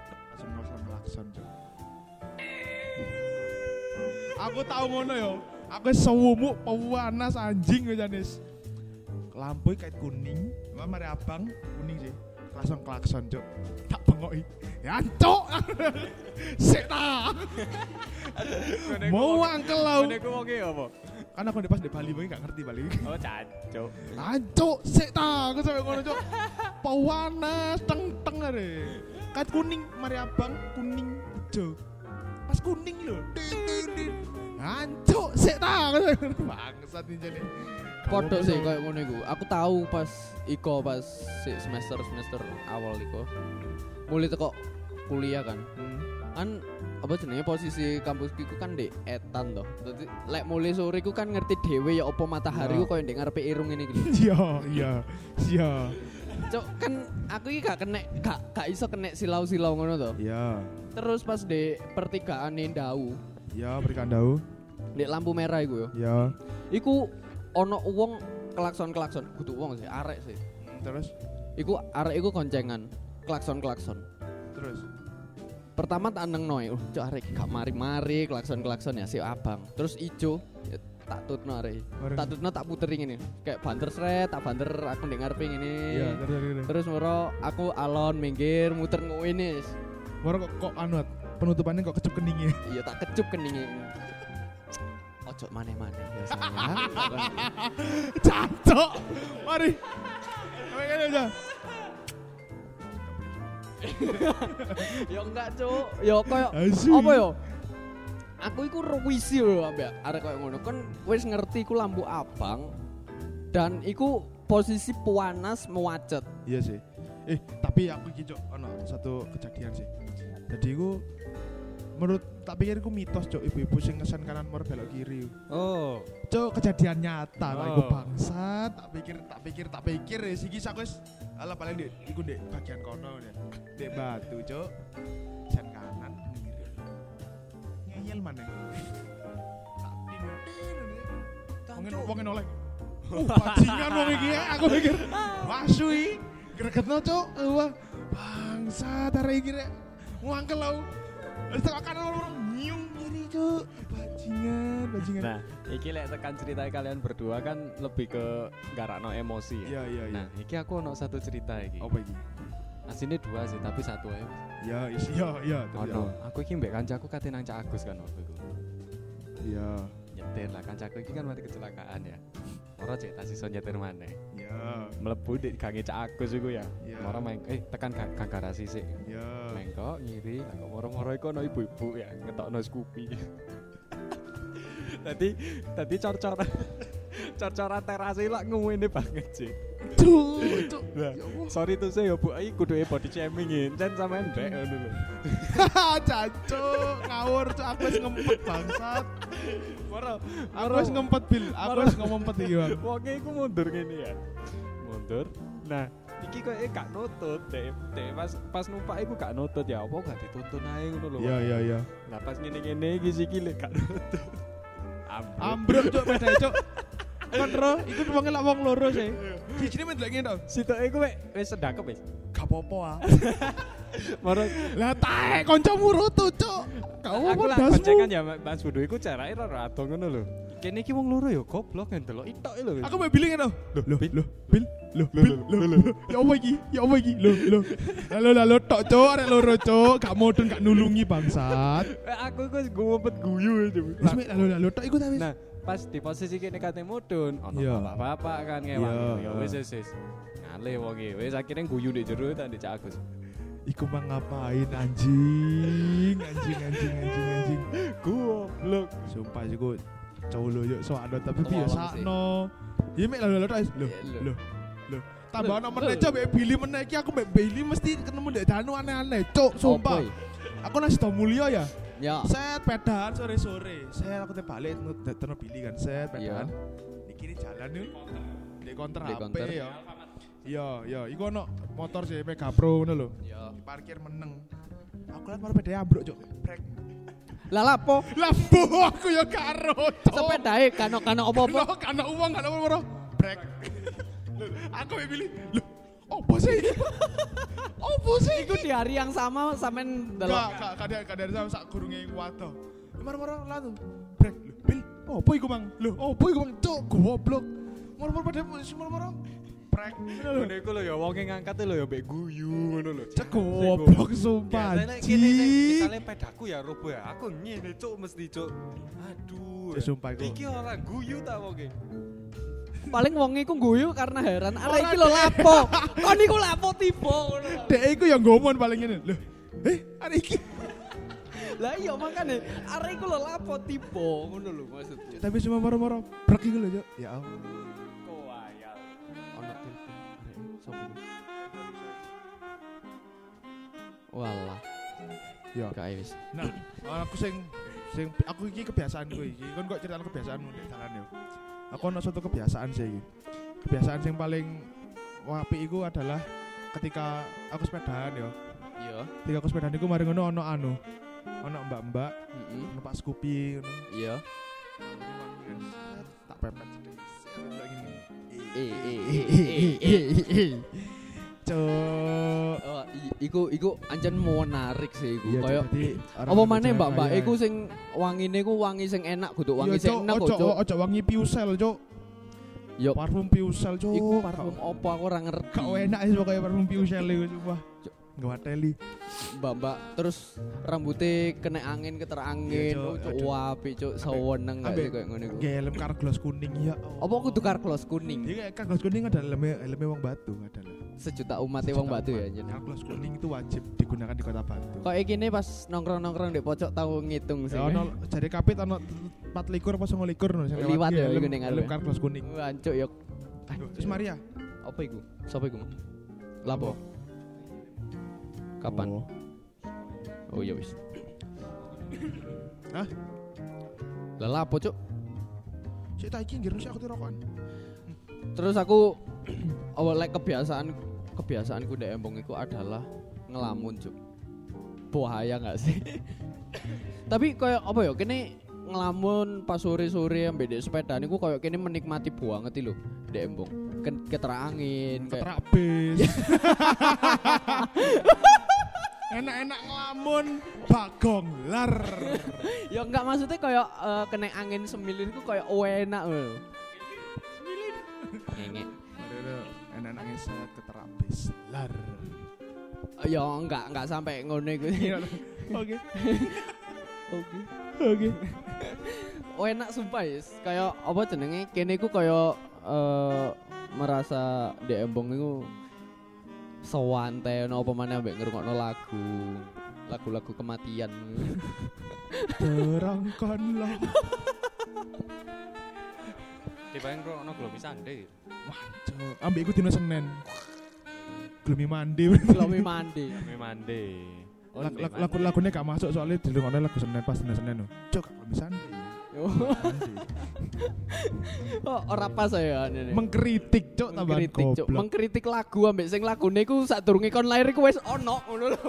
Speaker 1: semua sama lakson cok aku tau ngono yo aku sewumuk pewanas anjing wis Janis lampu iki kait kuning Emang mari abang kuning sih langsung klakson cok tak bengoki ya cok [laughs] sik ta mau angkel lau
Speaker 3: Niku wong e apa?
Speaker 1: kan aku di pas di Bali bagi gak ngerti Bali
Speaker 3: Oh, cacok.
Speaker 1: Ancuk, sik ta, aku sampe ngono cuk. Pawanas teng-teng are. Kat kuning, mari abang kuning ijo. Pas kuning lho. Tin, tin, tin. Ancuk, sik ta, aku sampe ngono. Bangsat iki jane.
Speaker 2: Podok sih koyok ngono iku. Aku tahu pas Iko pas si semester semester awal Iko. Mulai teko kuliah kan. Kan apa jenenge posisi kampus ku kan di etan toh. Dadi lek mulai sore ku kan ngerti dhewe ya apa matahari ku koyo ndek ngarepe irung ngene iki.
Speaker 1: Iya, iya, iya,
Speaker 2: Cok, kan aku iki gak kena gak gak iso kena silau-silau ngono toh.
Speaker 1: iya,
Speaker 2: Terus pas di pertigaan nih Ndau,
Speaker 1: iya, berikan daun,
Speaker 2: di lampu merah iku yo.
Speaker 1: iya.
Speaker 2: Iku ono wong klakson-klakson, kudu wong sih, arek sih.
Speaker 1: Terus,
Speaker 2: Iku arek iku koncengan, klakson-klakson.
Speaker 1: terus,
Speaker 2: Pertama tak neng noy, uh, cok arek gak mari-mari, klakson-klakson ya si abang. Terus ijo, ya, tak tutno arek.
Speaker 1: terus,
Speaker 2: Tak tutno tak puterin ini, kayak banter seret, tak banter aku dengar ping ini.
Speaker 1: iya, terus, terus.
Speaker 2: Terus moro aku alon minggir muter ngene.
Speaker 1: Warna kok, kok anu, penutupannya kok ya? kecep keningnya.
Speaker 2: Iya tak kecup keningnya. Ojo maneh-maneh ya
Speaker 1: [laughs]
Speaker 2: sayang.
Speaker 1: Cacok, mari. Kayak gini aja.
Speaker 2: ya enggak cuk ya koyo
Speaker 1: Asu.
Speaker 2: apa ya aku iku ruwisi lho ambek arek koyo ngono kan wis ngerti iku lampu abang dan iku posisi puanas mewacet
Speaker 1: Iya sih. Eh, tapi aku iki cok ono satu kejadian sih. Jadi aku menurut tak pikir aku mitos cok ibu-ibu sing ngesen kanan mur belok kiri.
Speaker 4: Oh,
Speaker 1: Cok kejadian nyata lah iku
Speaker 4: Oh.
Speaker 1: bangsa. Tak pikir tak pikir tak pikir ya siki aku wis ala paling dek iku dek bagian kono ya. Dek batu cok. Sen kanan kiri. Ngeyel maneh. Tak pinter. Wong wong noleh. Oh, bajingan wong iki eh. aku pikir. Wasui, gregetno cuk. Wah, bangsa tarik iki rek. Wangkel lu. Wis tekan kanan loro nyung kiri cuk. Bajingan, bajingan.
Speaker 3: Nah, iki lek tekan cerita kalian berdua kan lebih ke garano emosi ya.
Speaker 1: Iya, iya, iya.
Speaker 3: Nah, iki aku ono satu cerita iki.
Speaker 1: Apa iki?
Speaker 3: Aslinya dua sih, tapi satu aja.
Speaker 1: Ya, isi ya, ya.
Speaker 3: Ono, aku iki mbek kancaku kate nang Cak Agus kan waktu itu.
Speaker 1: Ya,
Speaker 3: Nyetir lah kancaku iki kan mati kecelakaan ya. Ora cek tak iso nyetir maneh.
Speaker 1: ya,
Speaker 3: Mlebu di gange Cak Agus iku ya.
Speaker 1: ya.
Speaker 3: Moro main eh tekan gang gang garasi sik.
Speaker 1: Ya. [laughs]
Speaker 3: Mengkok ngiri, lah kok moro-moro iku ono ibu-ibu ya ngetokno Scoopy. [laughs] tadi tadi cor-cor [laughs] cor-coran terase lak ngene banget sih.
Speaker 1: Tuh, tuh.
Speaker 3: Lah, sorry tuh saya ya bu, ayo kudu e body shaming incen sama ndek ngono lho.
Speaker 1: Caco, ngawur cuk aku wis ngempet bangsat.
Speaker 3: Moro,
Speaker 1: Aku wis ngempet bil, aku wis ngempet iki, Bang.
Speaker 3: wonge iku mundur ngene ya. Mundur. Nah, iki kok eh gak nutut dek dek pas pas numpak iku gak nutut ya apa gak dituntun ae ngono lho.
Speaker 1: Ya, ya, ya.
Speaker 3: Nah, pas ngene-ngene iki siki lek gak nutut. Ambruk.
Speaker 1: Ambruk cok beda cok. Kan ro, iku wong lak wong loro sih. Dijine men delok ngene to.
Speaker 3: Situ iku wek wis sedakep wis.
Speaker 1: Gak apa-apa ah.
Speaker 3: Moro
Speaker 1: Lah tae kancamu roto cok. Kau Oh,
Speaker 3: aku
Speaker 1: apa
Speaker 3: lah
Speaker 1: dasmu?
Speaker 3: koncengan ya Mas Budu iku carake ora ado ngono lho. Kene iki wong loro ya goblok ndelok itok lho.
Speaker 1: Aku mau bilang ngene. Loh, loh,
Speaker 3: Bil.
Speaker 1: loh, bil, loh, bil, loh, loh. Ya apa iki? Ya apa iki? Loh, loh. Halo, halo tok cok, arek loro cok, gak modern gak nulungi bangsat.
Speaker 3: Eh, aku iku wis ngumpet guyu aja. Bu.
Speaker 1: Wis mik halo, halo tok iku ta wis.
Speaker 3: Nah, pas di posisi kene kate mudun, ono
Speaker 1: Iya.
Speaker 3: bapak-bapak kan ngewang.
Speaker 1: Iya,
Speaker 3: Ya
Speaker 1: iya.
Speaker 3: wis wis wis. Ngale wong e. Wis akhirnya guyu ndek jero ta ndek Cak Agus.
Speaker 1: Iku mah ngapain anjing, anjing, anjing, anjing, anjing.
Speaker 3: Goblok.
Speaker 1: Sumpah sih gue cowok lo yuk soal ada tapi
Speaker 2: Tolong
Speaker 1: biasa
Speaker 2: sih.
Speaker 1: no. Iya mek lalu lalu guys lo
Speaker 2: Ya,
Speaker 3: Iya,
Speaker 2: lho.
Speaker 1: lo lo. Tambah nomor aja mek Billy menaiki aku mek Billy mesti ketemu dek Danu aneh-aneh.
Speaker 3: Oh,
Speaker 1: Cok sumpah.
Speaker 2: Opo?
Speaker 1: Aku nasi tau mulia ya.
Speaker 2: ya
Speaker 1: Set pedaan sore sore. Set aku teh balik nu dek Danu Billy kan. Set
Speaker 2: Iya.
Speaker 1: pedaan. Di kiri jalan nih. Di konter
Speaker 2: Di
Speaker 1: HP
Speaker 2: konter.
Speaker 1: ya. Iya iya. Iku ono motor sih Mega Pro nih lo.
Speaker 2: ya
Speaker 1: Parkir meneng. Aku lihat baru pedaan ambruk cok. Brek.
Speaker 2: lah lapo
Speaker 1: Lah bu aku ya karo. cok.
Speaker 2: sepedae kano-kano
Speaker 1: Lo
Speaker 2: apa-apa
Speaker 1: karena uang karena uang bro. Brek. Loh, Aku yang pilih. Loh, opo
Speaker 2: [laughs]
Speaker 1: sih? Opo sih?
Speaker 2: iku di hari yang sama sampean
Speaker 1: Gak,
Speaker 2: delok
Speaker 1: gak, kadang kadang sama sak gurunge iku wadah. Marmoro lalu. Brek. Loh, Bil, opo iku, Mang? Loh, opo iku, Mang? Cuk, goblok. Marmoro pada marmoro. Brek.
Speaker 3: Ngono iku lho ya
Speaker 4: e
Speaker 3: wonge ngangkat lho ya mbek guyu ngono lho.
Speaker 1: Cek goblok sumpah.
Speaker 4: biasanya Ya, kene sing
Speaker 1: Cik.
Speaker 4: misalnya pedaku ya robo ya, aku ngene cuk mesti cuk. Aduh.
Speaker 1: Ya sumpah iku.
Speaker 4: Iki ora guyu ta e. wonge.
Speaker 2: paling wong iku guyu karena heran ala iki lho lapo kon iku lapo tiba ngono lho.
Speaker 1: Dek iku yang ngomong paling ngene. Loh, eh, ada iki.
Speaker 2: lah iya makane arek iku lho lapo tiba ngono lho maksudku
Speaker 1: Tapi cuma marmoro. Brek iku lho, Cuk. Ya Allah.
Speaker 4: Koyal.
Speaker 2: ono telepon Arek, sopo? Walah.
Speaker 5: Iya.
Speaker 2: Kae wis.
Speaker 1: Nah, aku sing sing aku iki kebiasaanku iki. Kon kok cerita kebiasaanmu ndek dalan yo. Aku ono suatu kebiasaan sih iki. Kebiasaan sing paling apik iku adalah ketika aku sepedaan yo.
Speaker 2: Iya.
Speaker 1: Ketika aku sepedaan iku mari ngono ono anu. Ono mbak-mbak,
Speaker 2: Heeh.
Speaker 1: ono Pak Scoopy ngono.
Speaker 2: Iya.
Speaker 1: Tak pepet sedikit. Kayak gini.
Speaker 2: Eh eh eh, eh eh eh.
Speaker 1: Cuk.
Speaker 2: Oh, i- iku iku ancen menarik sih iku.
Speaker 1: Iya, Cuk,
Speaker 2: Kayak
Speaker 1: jadi orang
Speaker 2: apa
Speaker 1: orang
Speaker 2: maneh
Speaker 1: jalan
Speaker 2: mbak-mbak
Speaker 1: kaya.
Speaker 2: iku sing wangine ku wangi sing enak kudu
Speaker 1: Iya,
Speaker 2: wangi
Speaker 1: oh,
Speaker 2: sing
Speaker 1: Cuk,
Speaker 2: enak kok,
Speaker 1: ojo
Speaker 2: Cuk.
Speaker 1: ojo wangi piusel, Cuk.
Speaker 2: Yo.
Speaker 1: Parfum piusel, Cuk.
Speaker 2: Iku parfum opo aku ora ngerti.
Speaker 1: Kau enak sih pokoknya parfum piu Shelley gue sumpah
Speaker 2: Cuk.
Speaker 1: Gak wateli
Speaker 2: Mbak-mbak terus rambutnya kena angin keter angin.
Speaker 1: Iya, Cuk.
Speaker 2: Oh, Cuk,
Speaker 1: Aduh.
Speaker 2: wapi cuk seweneng gak sih
Speaker 1: Ambek-
Speaker 2: kayak ngene iku.
Speaker 1: Gelem karglos kuning ya
Speaker 2: Apa kudu karglos kuning?
Speaker 1: Iya kayak karglos kuning ada elemnya elemnya wong batu adalah
Speaker 2: Sejuta umat wong batu ya anjen.
Speaker 1: Karglos kuning itu wajib digunakan di kota batu
Speaker 2: Kok iki nih pas nongkrong-nongkrong di pojok tahu ngitung sih.
Speaker 1: Ya ono jadi kapit ono empat likur apa songo likur nulis
Speaker 2: Liwat ya,
Speaker 1: Gelem
Speaker 2: iku ning
Speaker 1: gelem
Speaker 2: ngarep ya.
Speaker 1: karglos kuning
Speaker 2: Wah, Cuk, yo.
Speaker 1: Aduh, Terus Maria
Speaker 2: Apa iku? Sapa iku? Lapo? Kapan?
Speaker 1: Oh.
Speaker 2: Oh iya wis.
Speaker 1: Hah?
Speaker 2: Lah lapo cuk?
Speaker 1: Cik tak iki ngirung sih aku tirokan
Speaker 2: Terus aku [clears throat] awalnya kebiasaan kebiasaanku ndek embong iku adalah ngelamun cuk. Bahaya nggak sih? [laughs] Tapi kayak apa ya? Kene ngelamun pas sore-sore ambek ndek sepeda niku kayak kene menikmati banget lho ndek embong. Ken- Ketera angin kayak
Speaker 1: Keterak bis [laughs] Enak-enak ngelamun Bagong lar
Speaker 2: ya enggak maksudnya kayak eh, kena angin semilin ku kayak enak eh. lho. Semilin.
Speaker 1: Enak-enak ngeset keterak bis Lar
Speaker 2: Ya enggak enggak sampai ngono iku.
Speaker 1: Oke.
Speaker 2: Oke. Oke. [laughs] Oh enak sumpah yes. Kayak apa jenenge? Kene iku kayak eh, merasa di embong iku sewante ono apa maneh ambek ngrungokno lagu. Lagu-lagu kematian. [laughs]
Speaker 1: Terangkanlah.
Speaker 3: Tiba yang kau nongkrong bisa deh.
Speaker 1: Ambek iku dina Senin. Glumi mandi.
Speaker 2: Glomi mandi.
Speaker 3: Memande. Oh,
Speaker 1: Lag- lag- lagu lagunya gak masuk soalnya dilungokno lagu Senin pas dina Senin. Cuk, glumi sandi.
Speaker 2: Oh, ora pas ya ini.
Speaker 1: Mengkritik, Cuk, tambahan
Speaker 2: mengkritik cuk
Speaker 1: goblok.
Speaker 2: mengkritik lagu ambek sing lagune iku sadurunge kon lair iku wis ono ngono lho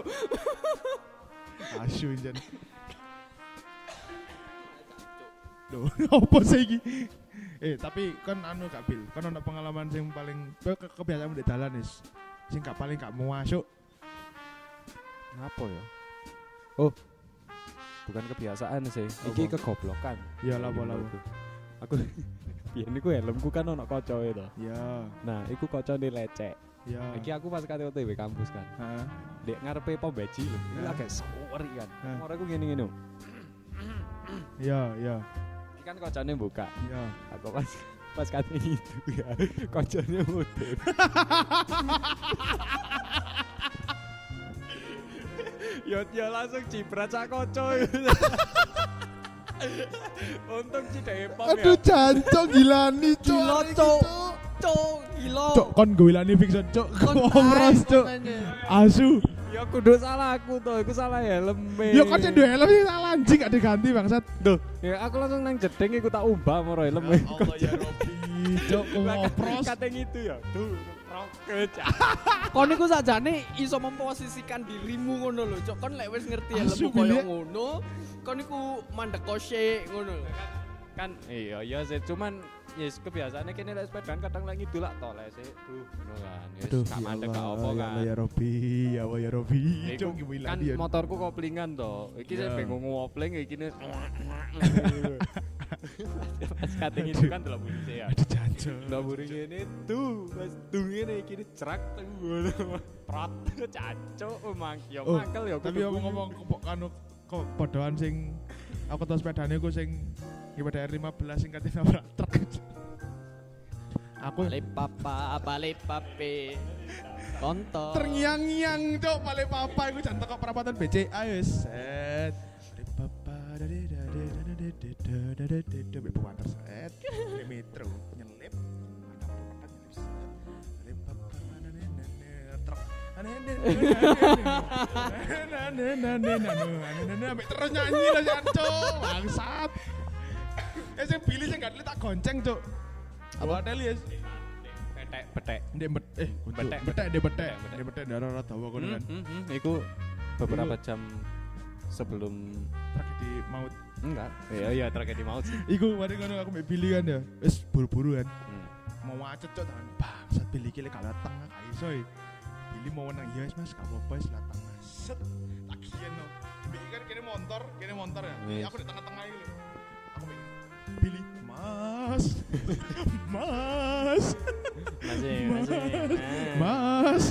Speaker 1: Asu jan. Loh, [laughs] apa sih iki? Eh, tapi kan anu Kak Bil, kan ono pengalaman sing paling ke ke- kebiasaan di dalan is. Sing gak paling gak mau masuk.
Speaker 4: Ngapa ya? Oh. Bukan kebiasaan sih. Iki kegoblokan.
Speaker 1: Ya lapo-lapo.
Speaker 4: Aku [laughs] biyen niku helmku kan ono kocoke to.
Speaker 1: Ya,
Speaker 4: Nah, iku kocone lecek.
Speaker 1: ya.
Speaker 4: Iki aku pas kate OTW kampus kan.
Speaker 1: Heeh.
Speaker 4: Dek ngarepe pom beji lho. Iku
Speaker 1: Nah.
Speaker 4: agak sori kan.
Speaker 1: Nah.
Speaker 4: Ora aku ngene-ngene.
Speaker 1: Ya, ya.
Speaker 4: Iki kan kocone buka.
Speaker 1: Ya.
Speaker 4: Aku pas pas kate itu ya. [laughs] Kocone mudhe. [laughs] Yo dia langsung ciprat sak e. kocoy. Untung cidek pom ya.
Speaker 1: Aduh jancok gilani cok.
Speaker 2: Gila, Cok. cuk gila
Speaker 1: Cok kon gilani fiction cok. Ngomros cok. Asu.
Speaker 4: Ya kudu salah aku to, iku salah helm.
Speaker 1: Ya kon sing duwe helm sih salah anjing gak diganti bangsat. Duh.
Speaker 4: Ya aku langsung nang jedeng iku tak umbah moro helm.
Speaker 1: Cok
Speaker 4: Ngopros.
Speaker 1: ngopros.
Speaker 4: Kateng kan itu ya. Duh, roket.
Speaker 2: kon iku sajane iso memposisikan dirimu ngono lho cuk kon lek wis ngerti ya
Speaker 1: Asu,
Speaker 2: lemu koyo
Speaker 1: Bilek.
Speaker 2: ngono kon iku mandek kose ngono lho
Speaker 3: kan iya iya sih cuman yes kebiasaannya kini lek sepedaan kadang lek ngidul lah tol lek sih duh ngono kan yes gak
Speaker 1: iya
Speaker 3: mandek gak apa kan
Speaker 1: Ya Robi, ya Allah, ya Robi.
Speaker 3: Ya,
Speaker 1: Cok
Speaker 3: iku kan
Speaker 1: gilani.
Speaker 3: motorku koplingan to iki saya
Speaker 1: Iya.
Speaker 3: bingung ngopling iki nih pas kating itu kan delok bunyi saya
Speaker 1: Aduh jancok.
Speaker 3: delok bunyi ngene tuh pas tuh ngene iki nih cerak tuh ngono prat cacok mangkel yo
Speaker 1: Oh,
Speaker 3: mangkel yo
Speaker 1: Tapi
Speaker 3: kudu
Speaker 1: ngomong-ngomong kok anu kok podoan sing aku tau sepedane ku sing GPDR 15 sing katanya nabrak truk. Aku
Speaker 2: balik papa balik pape konto
Speaker 1: terngiang-ngiang cok paling papa iku jan teko perapatan BCA wis set Dari papa dari dari dari dari dari dari dari dari Buanter, set Dari metro nyelip Ada perapatan nyelip, set. Dari papa dari dari dari truk Ambek terus nyanyi lah Jan, Cuk. Bangsat. Eh sing Billy sing gak tak gonceng, Cuk. Apa teli ya?
Speaker 4: Petek, petek.
Speaker 1: Ndek bet eh gonceng.
Speaker 4: Betek,
Speaker 1: betek, ndek betek.
Speaker 4: Betek, betek.
Speaker 1: Ndek betek ndek ora dawa kono
Speaker 4: Hmm,
Speaker 1: kan.
Speaker 4: hmm, hmm. Iku beberapa jam sebelum
Speaker 1: Tragedi maut.
Speaker 4: enggak. Iya, iya tragedi maut sih.
Speaker 1: Iku mari ngono aku mbek Billy kan ya. Wis buru-buru kan.
Speaker 4: Hmm.
Speaker 1: Mau macet, Cuk, tangan. Bangsat Billy ki lek gak latang gak iso. e. Billy mau nang iya wis, Mas, gak apa-apa wis latang. Set. Tak kiyeno. Billy kan kene motor, kene motor ya. Jadi
Speaker 4: Wis.
Speaker 1: Aku di tengah-tengah iki lho. Aku mbek Billy, Mas. [laughs] Mas.
Speaker 4: Masih, masih. Nah.
Speaker 1: Mas,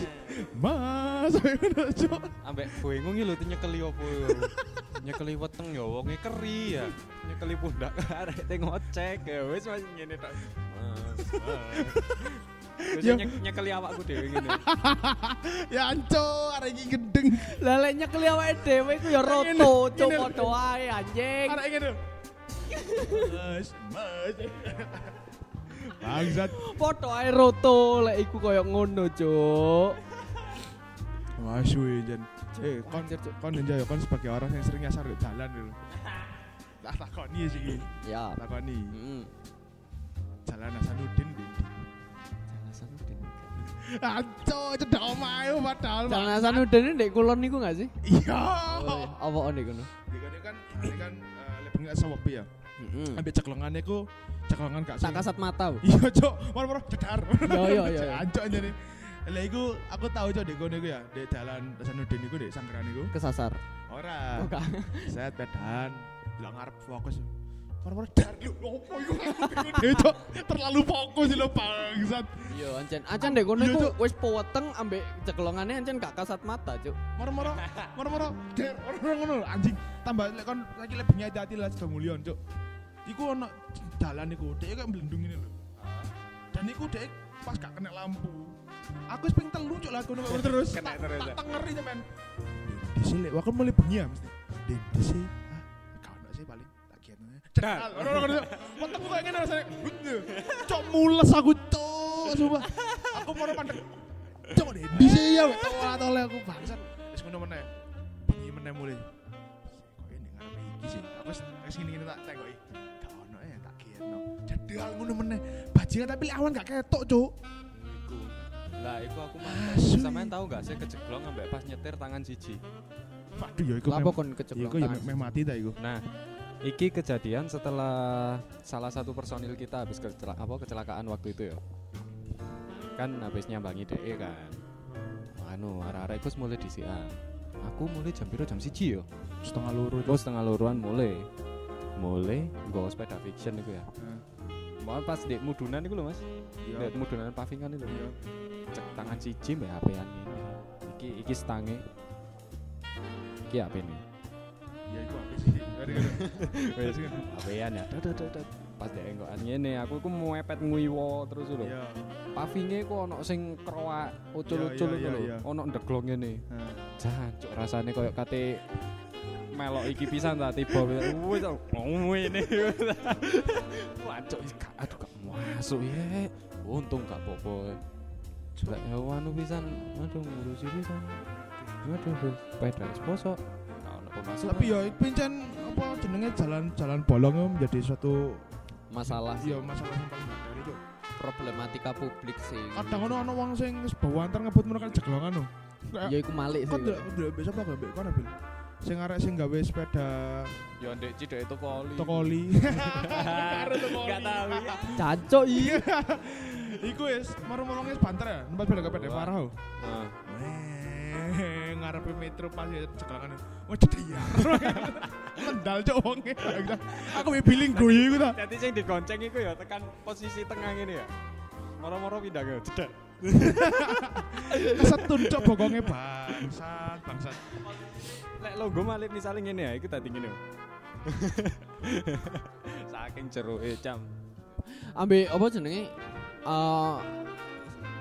Speaker 1: Mas, [laughs] Ya, ayo ngono, Cuk.
Speaker 4: Ambek bingung iki lho nyekeli opo. [laughs] yo. Nyekeli weteng ya wonge keri ya. Nyekeli pundak [laughs] arek te ngocek ya wis wis ngene tok. Mas, mas. Wis
Speaker 1: Ya.
Speaker 4: nyek- nyekeli awakku dhewe ngene.
Speaker 1: Ya anco, arek iki gedeng.
Speaker 2: Leleknya kelihatan dewe itu ya roto, coba doa anjing.
Speaker 1: Arek iki lho. Mas, Mas. Bangsat.
Speaker 2: Foto ae roto, lek iku koyo ngono, Cuk.
Speaker 1: Mas weh, Jan. Eh, kon
Speaker 2: Anjir, Cuk.
Speaker 1: kon Jan, ya, kon sebagai orang yang sering nyasar di jalan dulu. Tak takoni sih iki.
Speaker 2: Ya. Hmm.
Speaker 1: Takoni.
Speaker 2: Heeh.
Speaker 1: Jalan Hasanuddin ndi? Anco, cedak omahe padahal.
Speaker 2: Jalan
Speaker 1: Mas.
Speaker 2: Hasanuddin ini ndek kulon niku enggak sih?
Speaker 1: Iya.
Speaker 2: Oh, apa on niku?
Speaker 1: Dikane kan, dikane kan eh, lebengi asam webi ya.
Speaker 2: Heeh.
Speaker 1: ambil ceklongannya ku ceklongan gak
Speaker 2: Tak
Speaker 1: sing-
Speaker 2: kasat mata. Bu.
Speaker 1: iya cok moro moro cedar
Speaker 2: Yo, yo, yo,
Speaker 1: [laughs]
Speaker 2: yo.
Speaker 1: ancok aja nih lah iku aku tahu cok dek kono iku ya dek jalan Hasanuddin iku dek Sanggeran iku
Speaker 2: Kesasar.
Speaker 1: ora
Speaker 2: Oh, gak.
Speaker 1: set pedan lah ngarep fokus moro moro dar lu opo iku [laughs] dek cok terlalu fokus lho bangsat
Speaker 2: Iya, ancen. Ancen ndek kono
Speaker 1: Iya,
Speaker 2: iku
Speaker 1: Cuk.
Speaker 2: wis peweteng ambek cekelongane ancen gak kasat mata, Cuk.
Speaker 1: moro
Speaker 4: [laughs]
Speaker 1: moro moro moro dar moro moro ngono lho, anjing tambah lek kon lagi lebih hati-hati lah sudah mulion cok iku ono dalan iku dek kayak melendung ini lho dan iku dek pas gak kena lampu aku wis ping telu cuk lagu nomor terus
Speaker 4: Kena
Speaker 1: tak
Speaker 4: terus,
Speaker 1: tak
Speaker 4: ya.
Speaker 1: tak ngeri men di sini aku mulai bengi ya mesti di di sini kau nak sih paling tak kian cedal orang orang mantap gue ingin rasanya cok mules aku cok sumpah aku mau pandek cok di di sini ya tau lah tau lah aku bangsat terus ngono meneh bengi meneh mulai kok ini ngarepe iki sih aku sini ngene tak tengoki gak ono ya tak kian cedal ngono meneh bajingan tapi awan gak ketok cok
Speaker 4: Iku. Lah iku aku
Speaker 1: Asu.
Speaker 4: mantep. Sampeyan tahu gak sih kejeglong ambek pas nyetir tangan siji.
Speaker 1: waduh ya iku
Speaker 2: Lapo
Speaker 1: mem-
Speaker 2: kon
Speaker 1: ya
Speaker 2: kecekelong
Speaker 1: iku ya
Speaker 2: tangan?
Speaker 1: meh mati ta iku
Speaker 4: Nah, iki kejadian setelah salah satu personil kita habis kecelakaan apa kecelakaan waktu itu ya. Kan habis nyambangi DE kan. Anu, arah-arah iku wis mulai disian. Aku mulai jam piro jam siji yo.
Speaker 1: setengah loro
Speaker 4: Terus setengah luruan mulai. Mulai nggawa sepeda fiction iku ya.
Speaker 1: Heeh.
Speaker 4: Mau pas dek mudunan iku lho Mas.
Speaker 1: Iya.
Speaker 4: Dek mudunan pavingan itu. Cek tangan siji mbek HP-an ini. Iki iki stange. Iki HP ini.
Speaker 1: Ya iku apa sih? Ngeri, ngeri.
Speaker 4: Wes. Awean ya. Dut, dut, dut, dut. Pas dek enggokan ngene aku ku mepet nguywa terus lho.
Speaker 1: Iya.
Speaker 4: Pavinge ku ono sing kroak ucul-ucul
Speaker 1: Iya,
Speaker 4: itu
Speaker 1: iya, iya,
Speaker 4: lho.
Speaker 1: iya.
Speaker 4: Ono ndeglong ngene.
Speaker 1: Heeh.
Speaker 4: Jancuk rasane koyo kate melok iki pisan ta tiba wis ngene. [laughs] Wancuk iki gak- aduh gak masuk ya. Untung gak apa-apa. Jelek hewan pisan. Aduh ngurusi pisan. Aduh, aduh, pedal posok. Gak ono pemasukan.
Speaker 1: Tapi ya iku pincen apa jenenge jalan-jalan bolong itu menjadi suatu
Speaker 2: Masalah
Speaker 1: ya masalah yang paling gak dari Cuk.
Speaker 2: problematika publik sih.
Speaker 1: Kadang ono ono wong sing wis bawa antar ngebut menekan jeglongan lho.
Speaker 2: Ya iku malik
Speaker 1: Kok
Speaker 2: sih.
Speaker 1: ndelok ndelok besok apa mbek kon Abil? Sing arek sing gawe sepeda
Speaker 4: Yo ndek cidek itu poli.
Speaker 2: [laughs]
Speaker 1: tokoli.
Speaker 4: Gak tahu.
Speaker 1: ya?
Speaker 2: Cancuk iya.
Speaker 1: Iya. Iku wis marung-marung wis banter ya. Tempat sepeda gak pede parah. ho.
Speaker 4: Nah,
Speaker 1: Weh, ngarepe metro pas ya cekelangan wah jadi ya [laughs] mendal cok wonge aku mau billing guyu iku ta
Speaker 4: Jadi sing digonceng iku ya tekan posisi tengah ngene ya. Moro-moro pindah ke cedak.
Speaker 1: kesetun cok bokonge bangsat bangsat
Speaker 4: Lek logo malih misalnya ngene ya, iku tadi ngene. [laughs] Saking jeroe jam.
Speaker 2: Ambe apa jenenge? Eh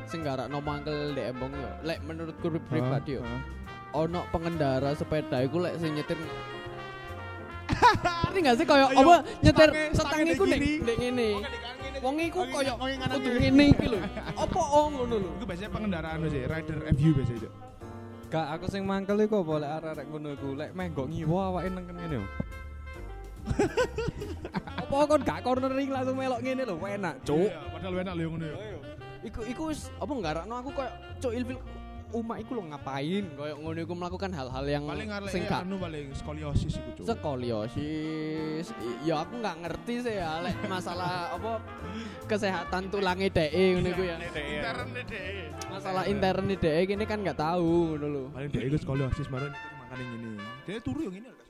Speaker 2: sing garak nomo angkel ndek embong yo. Lek menurutku
Speaker 1: Ah,
Speaker 2: pri- pribadi yo, ono pengendara sepeda iku lek sing
Speaker 1: [laughs]
Speaker 2: nyetir Ngerti gak sih koyo
Speaker 1: Ayo,
Speaker 2: apa nyetir
Speaker 1: tangi-
Speaker 2: setangi
Speaker 1: tangi
Speaker 2: iku
Speaker 1: dek
Speaker 2: nek
Speaker 1: gini.
Speaker 2: nek ngene. Wong iku koyo
Speaker 1: wong [laughs]
Speaker 2: kudu ngene iki lho. Apa oh ngono lho.
Speaker 1: iku biasanya pengendaraan sih rider FU biasanya cok
Speaker 4: Gak aku sing mangkel iku apa lek arek-arek ngono iku lek meh nggo ngiwa awake nang [laughs] ngene lho. Apa kon gak cornering langsung melok ngene lho, enak, cuk.
Speaker 1: Iya, padahal enak lho yang ngono ya.
Speaker 2: Iku iku wis apa nggarakno aku koyo cuk ilfil umak iku lho ngapain koyo ngono iku melakukan hal-hal yang
Speaker 1: Paling arek
Speaker 2: sing gak
Speaker 1: anu paling skoliosis iku cuk.
Speaker 2: skoliosis I- ya aku nggak ngerti sih ya lek masalah apa kesehatan tulangnya DE ngono iku ya
Speaker 1: Interne deh.
Speaker 2: masalah intern DE ini kan nggak tahu ngono lho
Speaker 1: Paling deh iku skoliosis marun makan yang ini. Dia turu yang ini lho.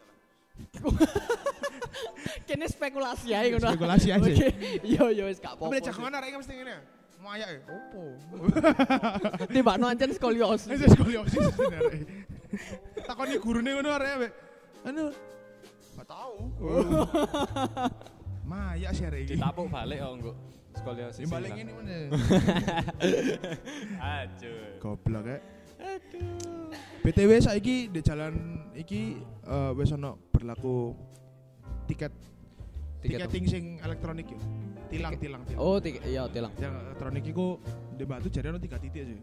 Speaker 2: kene spekulasi ae ngono
Speaker 1: Spekulasi aja.
Speaker 2: Oke. yo yo wis gak
Speaker 1: Tapi
Speaker 2: apa-apa
Speaker 1: cak mana arek mesti ngene. Mau ayak ya. Opo?
Speaker 2: tibakno ancen skoliosis
Speaker 1: [laughs] Wis skoliosis sebenarnya. Takoni gurune ngono arek ambek. Anu Oh. gak tahu. [laughs] Mayak sih arek iki.
Speaker 4: Ditapuk balik kok nggo skoliosis.
Speaker 1: Yang paling ini mana?
Speaker 4: Aduh.
Speaker 1: [laughs] Goblok ya. BTW saiki di jalan iki eh, wis ono berlaku tiket
Speaker 2: Tiket
Speaker 1: tiketing sing elektronik ya. Tilang, tilang, tilang.
Speaker 2: oh tiga iya tilang
Speaker 1: Yang elektronik iku di Batu jadi ono 3 titik sih.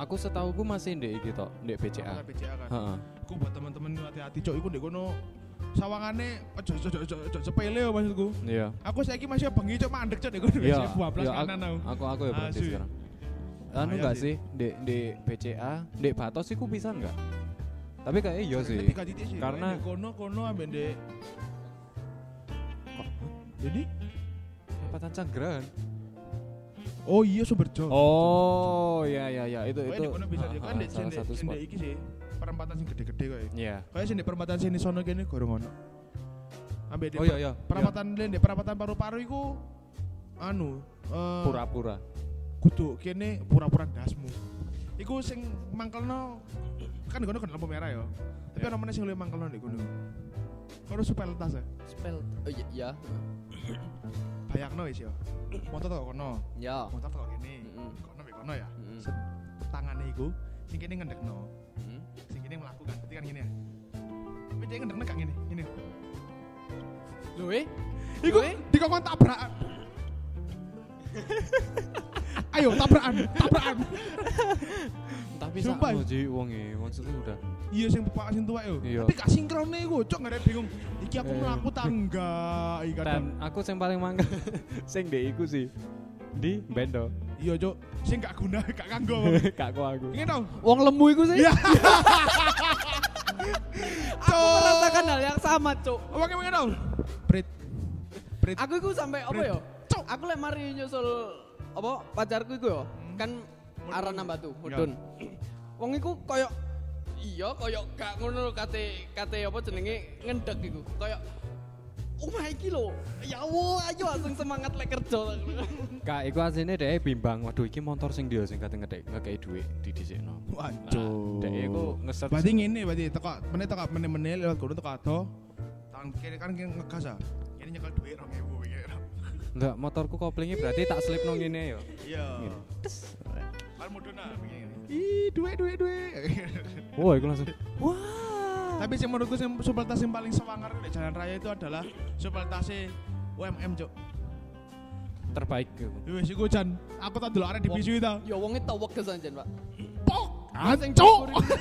Speaker 4: Aku setauku masih ndek iki tok, ndek BCA.
Speaker 1: Kan BCA kan.
Speaker 4: Heeh.
Speaker 1: Iku buat teman-teman hati-hati cok iku ndek kono sawangane ojo ojo ojo ojo sepele yo maksudku.
Speaker 4: Iya.
Speaker 1: Aku saiki masih bengi cok mandek cok ndek kono
Speaker 4: Iya.
Speaker 1: wis 12
Speaker 4: Iya,
Speaker 1: kanan aku.
Speaker 4: Aku aku ya berhenti
Speaker 1: Asu.
Speaker 4: sekarang. Anu
Speaker 1: Bahaya
Speaker 4: enggak
Speaker 1: sih.
Speaker 4: sih ndek ndek BCA, ndek Batos iku pisan enggak? Tapi kayaknya iya sih.
Speaker 1: Tiga titik sih.
Speaker 4: Karena-
Speaker 1: Ndek kono kono ambek ndek jadi
Speaker 4: Patan Canggrahan.
Speaker 1: Oh iya Sumberjo.
Speaker 4: Oh, ya ya ya itu
Speaker 1: Pokoknya
Speaker 4: itu.
Speaker 1: di kono bisa
Speaker 4: Ah,
Speaker 1: juga
Speaker 4: ah,
Speaker 1: kan di
Speaker 4: salah
Speaker 1: sini
Speaker 4: satu spot.
Speaker 1: sini iki sih perempatan sing gede-gede kok.
Speaker 4: Iya.
Speaker 1: Kayak sini perempatan sini sono kene gorong ono. Ambe di
Speaker 4: Oh iya iya.
Speaker 1: perempatan lain di perempatan paru-paru iku anu
Speaker 4: Iya.
Speaker 1: eh
Speaker 4: pura-pura.
Speaker 1: kudu kene pura-pura dasmu. Iku sing mangkelno kan di kono kan lampu merah ya. Tapi
Speaker 4: Iya.
Speaker 1: ana meneh sing luwih mangkelno di kono. Kono supaya letas ya.
Speaker 2: spell oh iya iya
Speaker 1: Bayangno wis ya. Motor teko kono,
Speaker 2: ya
Speaker 1: motor teko kene.
Speaker 2: Mm-mm.
Speaker 1: Kono be kono ya.
Speaker 2: Mm-mm.
Speaker 1: Set tangane iku sing kene ngendekno.
Speaker 2: Mm.
Speaker 1: sing ini melakukan berarti kan gini ya tapi dia ngendeng kayak gini gini
Speaker 2: lho eh
Speaker 1: iku
Speaker 2: Weh.
Speaker 1: dikongkon
Speaker 4: [laughs]
Speaker 1: tabrakan ayo tabrakan tabrakan
Speaker 4: Tapi
Speaker 1: Sumpah.
Speaker 4: sakno ji wong e, maksudnya udah.
Speaker 1: iya sing bapak sing tuwa yo
Speaker 4: Iya.
Speaker 1: tapi gak sinkronnya iku cok gak ada yang bingung iki aku
Speaker 4: Eh.
Speaker 1: melaku tangga iya kadang
Speaker 4: Dan aku sing paling mangkel sing ndek iku sih. Di bendo.
Speaker 1: iya cok sing gak guna [laughs] gak kanggo
Speaker 4: [laughs] Kak ku aku.
Speaker 1: ingin tau
Speaker 2: wong lemu iku sih
Speaker 1: Iya.
Speaker 2: [laughs] aku merasakan hal yang sama cuk
Speaker 1: apa kayak ingin tau prit prit
Speaker 2: aku iku sampai apa
Speaker 1: Prit.
Speaker 2: ya
Speaker 1: Cuk.
Speaker 2: aku lek mari nyusul apa pacarku iku ya
Speaker 1: Hmm.
Speaker 2: kan arah nambah tuh
Speaker 1: Iya.
Speaker 2: mudun [clears throat] wong iku koyo iya koyo gak ngono lho, kate kate apa jenenge ngendek iku koyo Oh my iki lho. Ya Allah, ayo langsung semangat lek kerja. [laughs]
Speaker 4: Kak iku asline dhek bimbang. Waduh iki motor sing dia sing kate ngedek ngekei dhuwit di dhisikno.
Speaker 1: waduh
Speaker 4: Dhek iku ngeset
Speaker 1: berarti ngene berarti teko meneh teko meneh-meneh lewat kono teko ato tangan kiri kan kene ngegas ah ini nyekel duit 2000 iki
Speaker 4: Enggak, motorku koplingnya berarti tak slip nang ngene ya.
Speaker 1: Iya. Kan mudun ah begini. Ih, duwe duwe duwe.
Speaker 4: Wah, iku langsung.
Speaker 1: [laughs] Tapi sing menurutku sing supeltas sing paling semangar di jalan raya itu adalah supeltase UMM, Cuk.
Speaker 4: terbaik
Speaker 1: Wis iku jan, aku tak delok arek di bisu ta.
Speaker 2: Ya wong e tewek kesan jan, Pak.
Speaker 1: Pok.
Speaker 2: Kau sing
Speaker 1: Ancuk. [laughs]
Speaker 2: dhuwur iku.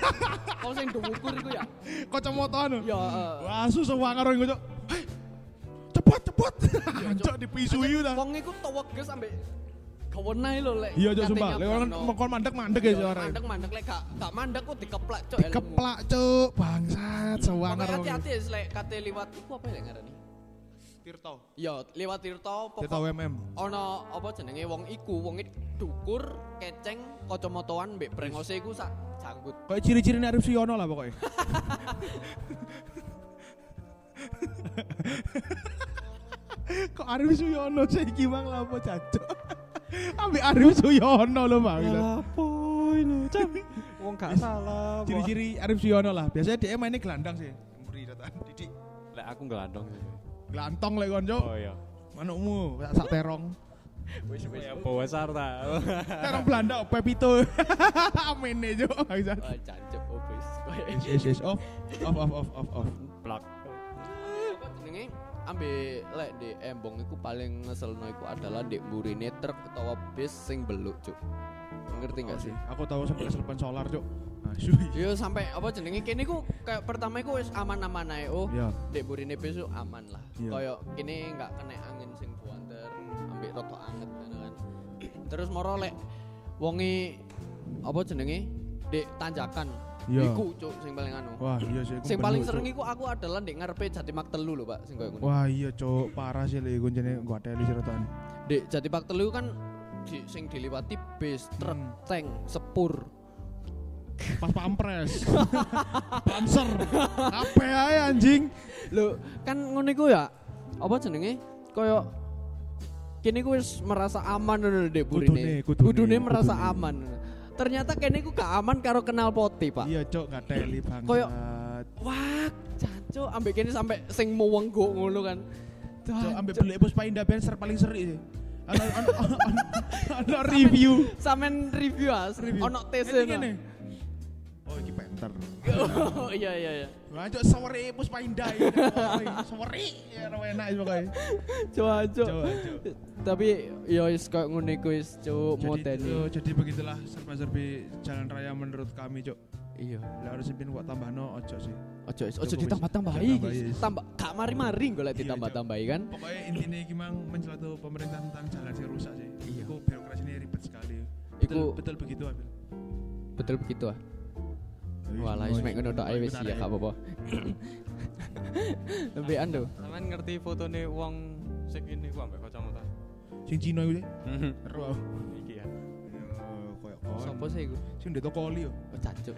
Speaker 2: Kau sing dhuwur iku ya.
Speaker 1: Kacamata anu.
Speaker 2: Ya, eh.
Speaker 1: Wah, susah wangar iku, Cuk. Hei. Cepet, cepet. Cuk di bisu iku ta.
Speaker 2: Iya, Wong iku tewek ge sampe gawenae lho lek.
Speaker 1: Iya, Cuk,
Speaker 2: kate
Speaker 1: sumpah. Lek orang
Speaker 2: nyabrano.
Speaker 1: mengkon mandek-mandek ya
Speaker 2: Yo,
Speaker 1: suara.
Speaker 2: mandek mandek lek gak gak mandek kok dikeplak cok elmu.
Speaker 1: Keplak, Cuk. Bangsat,
Speaker 2: Pokoknya
Speaker 1: sewangar wong.
Speaker 2: hati-hati ya, lek kate liwat iku apa ya lek ngarani
Speaker 1: Tirta.
Speaker 2: ya liwat tirta
Speaker 1: Tirta
Speaker 2: pokok
Speaker 1: UMM.
Speaker 2: ono apa jenenge wong iku wong iki dukur keceng kacamataan mbek brengose iku sak janggut
Speaker 1: Kayak ciri-ciri Arif Suyono lah pokoknya. Kok Arif Suyono sih iki bang lah apa cacok. Ambil Arif Suyono loh bang.
Speaker 4: Lapoin [laughs] cam. Wong gak salah.
Speaker 1: Ciri-ciri Arif Suyono lah. Biasanya dia mainnya gelandang sih. Muri dataan didik.
Speaker 4: Lek aku ngelandong sih.
Speaker 1: Gelantong lek konco.
Speaker 4: Oh, iya.
Speaker 1: Manukmu sak terong.
Speaker 4: Wis wis ya besar ta.
Speaker 1: terong Belanda Pepito. [laughs] Amene jo. Bangsat.
Speaker 2: Eh, jancuk obes [laughs] koyo
Speaker 1: Yes yes yes off off off off off off.
Speaker 4: Plak.
Speaker 2: jenenge ambe lek di embong iku paling ngeselno iku adalah di mburine truk utawa bis sing beluk, Cuk. Ngerti gak sih?
Speaker 1: Oh, iya.
Speaker 2: Iya. Nah,
Speaker 1: Aku tahu sampai selepen solar, Cuk. iya.
Speaker 2: Yo sampai apa jenenge kene iku kayak pertama iku wis aman-aman ae. Oh,
Speaker 1: Iya.
Speaker 2: di mburine bis iku aman lah.
Speaker 1: Iya.
Speaker 2: Kayak kene gak kena angin sing buanter, ambek roto anget ngono kan. [clears throat] Terus moro lek wengi apa jenenge? Dek tanjakan.
Speaker 1: Iya.
Speaker 2: Iku Cuk sing paling anu.
Speaker 1: Wah, iya sih. iku
Speaker 2: Sing paling
Speaker 1: beluk,
Speaker 2: sering
Speaker 1: Cuk.
Speaker 2: iku aku adalah ndek ngarepe Jatimak telu lho, Pak, sing koyo ngono.
Speaker 1: Wah, iya, Cuk. Parah sih lek iku jane gua teli sih rotan.
Speaker 2: Dek Jatipak telu kan di, sing diliwati bis, truk, tank, sepur.
Speaker 1: Hmm. Pas pampres. [laughs] Panser. Apa ae anjing?
Speaker 2: Lho, kan ngono iku ya. Apa jenenge? Koyo kene ku wis merasa aman ngono lho, Dek
Speaker 1: Kudune,
Speaker 2: burine.
Speaker 1: kudune,
Speaker 2: merasa
Speaker 1: kudune.
Speaker 2: aman. Ternyata kene ku gak aman karo kenal poti, Pak.
Speaker 1: Iya, Cuk, gak teli banget.
Speaker 2: Koyok- Wah, jancu ambek kene sampe sing muwenggo ngono kan.
Speaker 1: Cuk,
Speaker 2: Wah,
Speaker 1: ambek belek Puspaindah Benser paling seri sih. Ana [laughs] ana- ana- ana review.
Speaker 2: Sampean review as, ono tese.
Speaker 1: Ini
Speaker 2: no.
Speaker 1: ngene. Oh, iki penter.
Speaker 2: [laughs] Oh, iya iya iya.
Speaker 1: Lanjut sore Puspaindah.
Speaker 2: [laughs]
Speaker 1: ini. Sore. Ya, ora enak sih pokoknya.
Speaker 2: Coba coba.
Speaker 1: Coba, Cuk.
Speaker 2: Tapi yo wis koyo ngene iku wis cuk
Speaker 1: jadi,
Speaker 2: modeni.
Speaker 1: eh, jadi begitulah serba-serbi jalan raya menurut kami cok
Speaker 2: Iya.
Speaker 1: lah harus pin kok tambah no ojo sih
Speaker 2: Ojo is- ojo
Speaker 1: Cukup is.
Speaker 2: ditambah-tambahi.
Speaker 1: Ditambah is.
Speaker 2: Tambah gak mari-mari golek
Speaker 1: Iya,
Speaker 2: ditambah-tambahi kan.
Speaker 1: pokoknya intinya gimang mencelatu pemerintah tentang jalan sih rusak sih
Speaker 2: Iya.
Speaker 1: Iku birokrasi ini ribet sekali
Speaker 2: Iku
Speaker 1: betul, betul begitu Abil
Speaker 2: betul begitu ah. Walah wis mek ngono tok ae wis
Speaker 1: iya,
Speaker 2: ya gak [coughs] apa-apa. Lebih ando.
Speaker 4: Sampean ngerti fotone wong sing ini ku ambek kacamata.
Speaker 1: sing Cina [laughs] itu
Speaker 4: Heeh.
Speaker 1: seru aku
Speaker 4: Iki ya.
Speaker 1: koyok
Speaker 2: Sopo sih iku?
Speaker 1: sing di toko [laughs] oli yo
Speaker 2: Oh, Cacuk.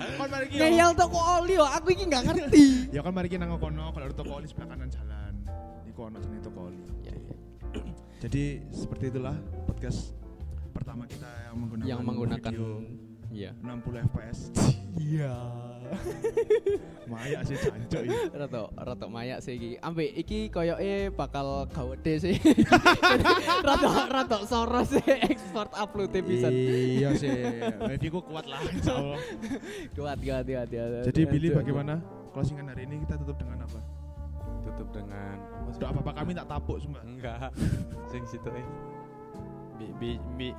Speaker 1: kan mari ki yo.
Speaker 2: Ngeyel tok kok oli yo, aku iki gak [laughs] ngerti.
Speaker 1: ya kan mari ki nang kono kalau ada toko oli sebelah kanan jalan iku ono jenenge toko oli
Speaker 2: Ya, ya.
Speaker 1: jadi seperti itulah podcast pertama kita yang menggunakan
Speaker 2: Yang menggunakan
Speaker 1: video
Speaker 2: Iya.
Speaker 1: 60 [laughs] fps iya maya sih jancok ya
Speaker 2: Roto, roto mayak sih iki. Ambe iki koyoke bakal gawede sih. [laughs] roto, roto soros sih [laughs] ekspor upload pisan.
Speaker 1: iya sih wifi ku kuat lah insya Allah
Speaker 2: Kuat, kuat, kuat, kuat.
Speaker 1: jadi Billy
Speaker 2: Cuk.
Speaker 1: bagaimana closingan hari ini kita tutup dengan apa
Speaker 4: Tutup dengan
Speaker 1: doa bapak kami tak tapuk sumpah
Speaker 4: enggak. [laughs] Sing situ eh. Bi bi bi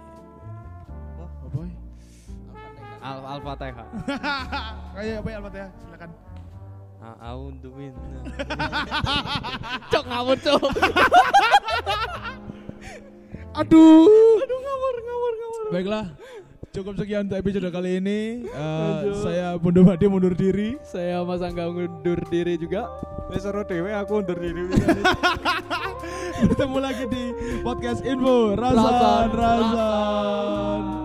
Speaker 1: oh boy
Speaker 4: Al Al-Fatihah.
Speaker 1: kayak apa ya Almat ya silakan
Speaker 4: A'udzu billah.
Speaker 2: Cok ngawur, cok. [laughs]
Speaker 1: aduh aduh ngawur ngawur ngawur baiklah cukup sekian untuk episode kali ini Eh,
Speaker 2: Aduh.
Speaker 1: saya Bondo Bade mundur diri
Speaker 2: Saya Mas Angga undur diri juga.
Speaker 4: Wis seru dhewe aku undur diri.
Speaker 1: bertemu lagi di podcast info rasan rasan,
Speaker 2: Rasan.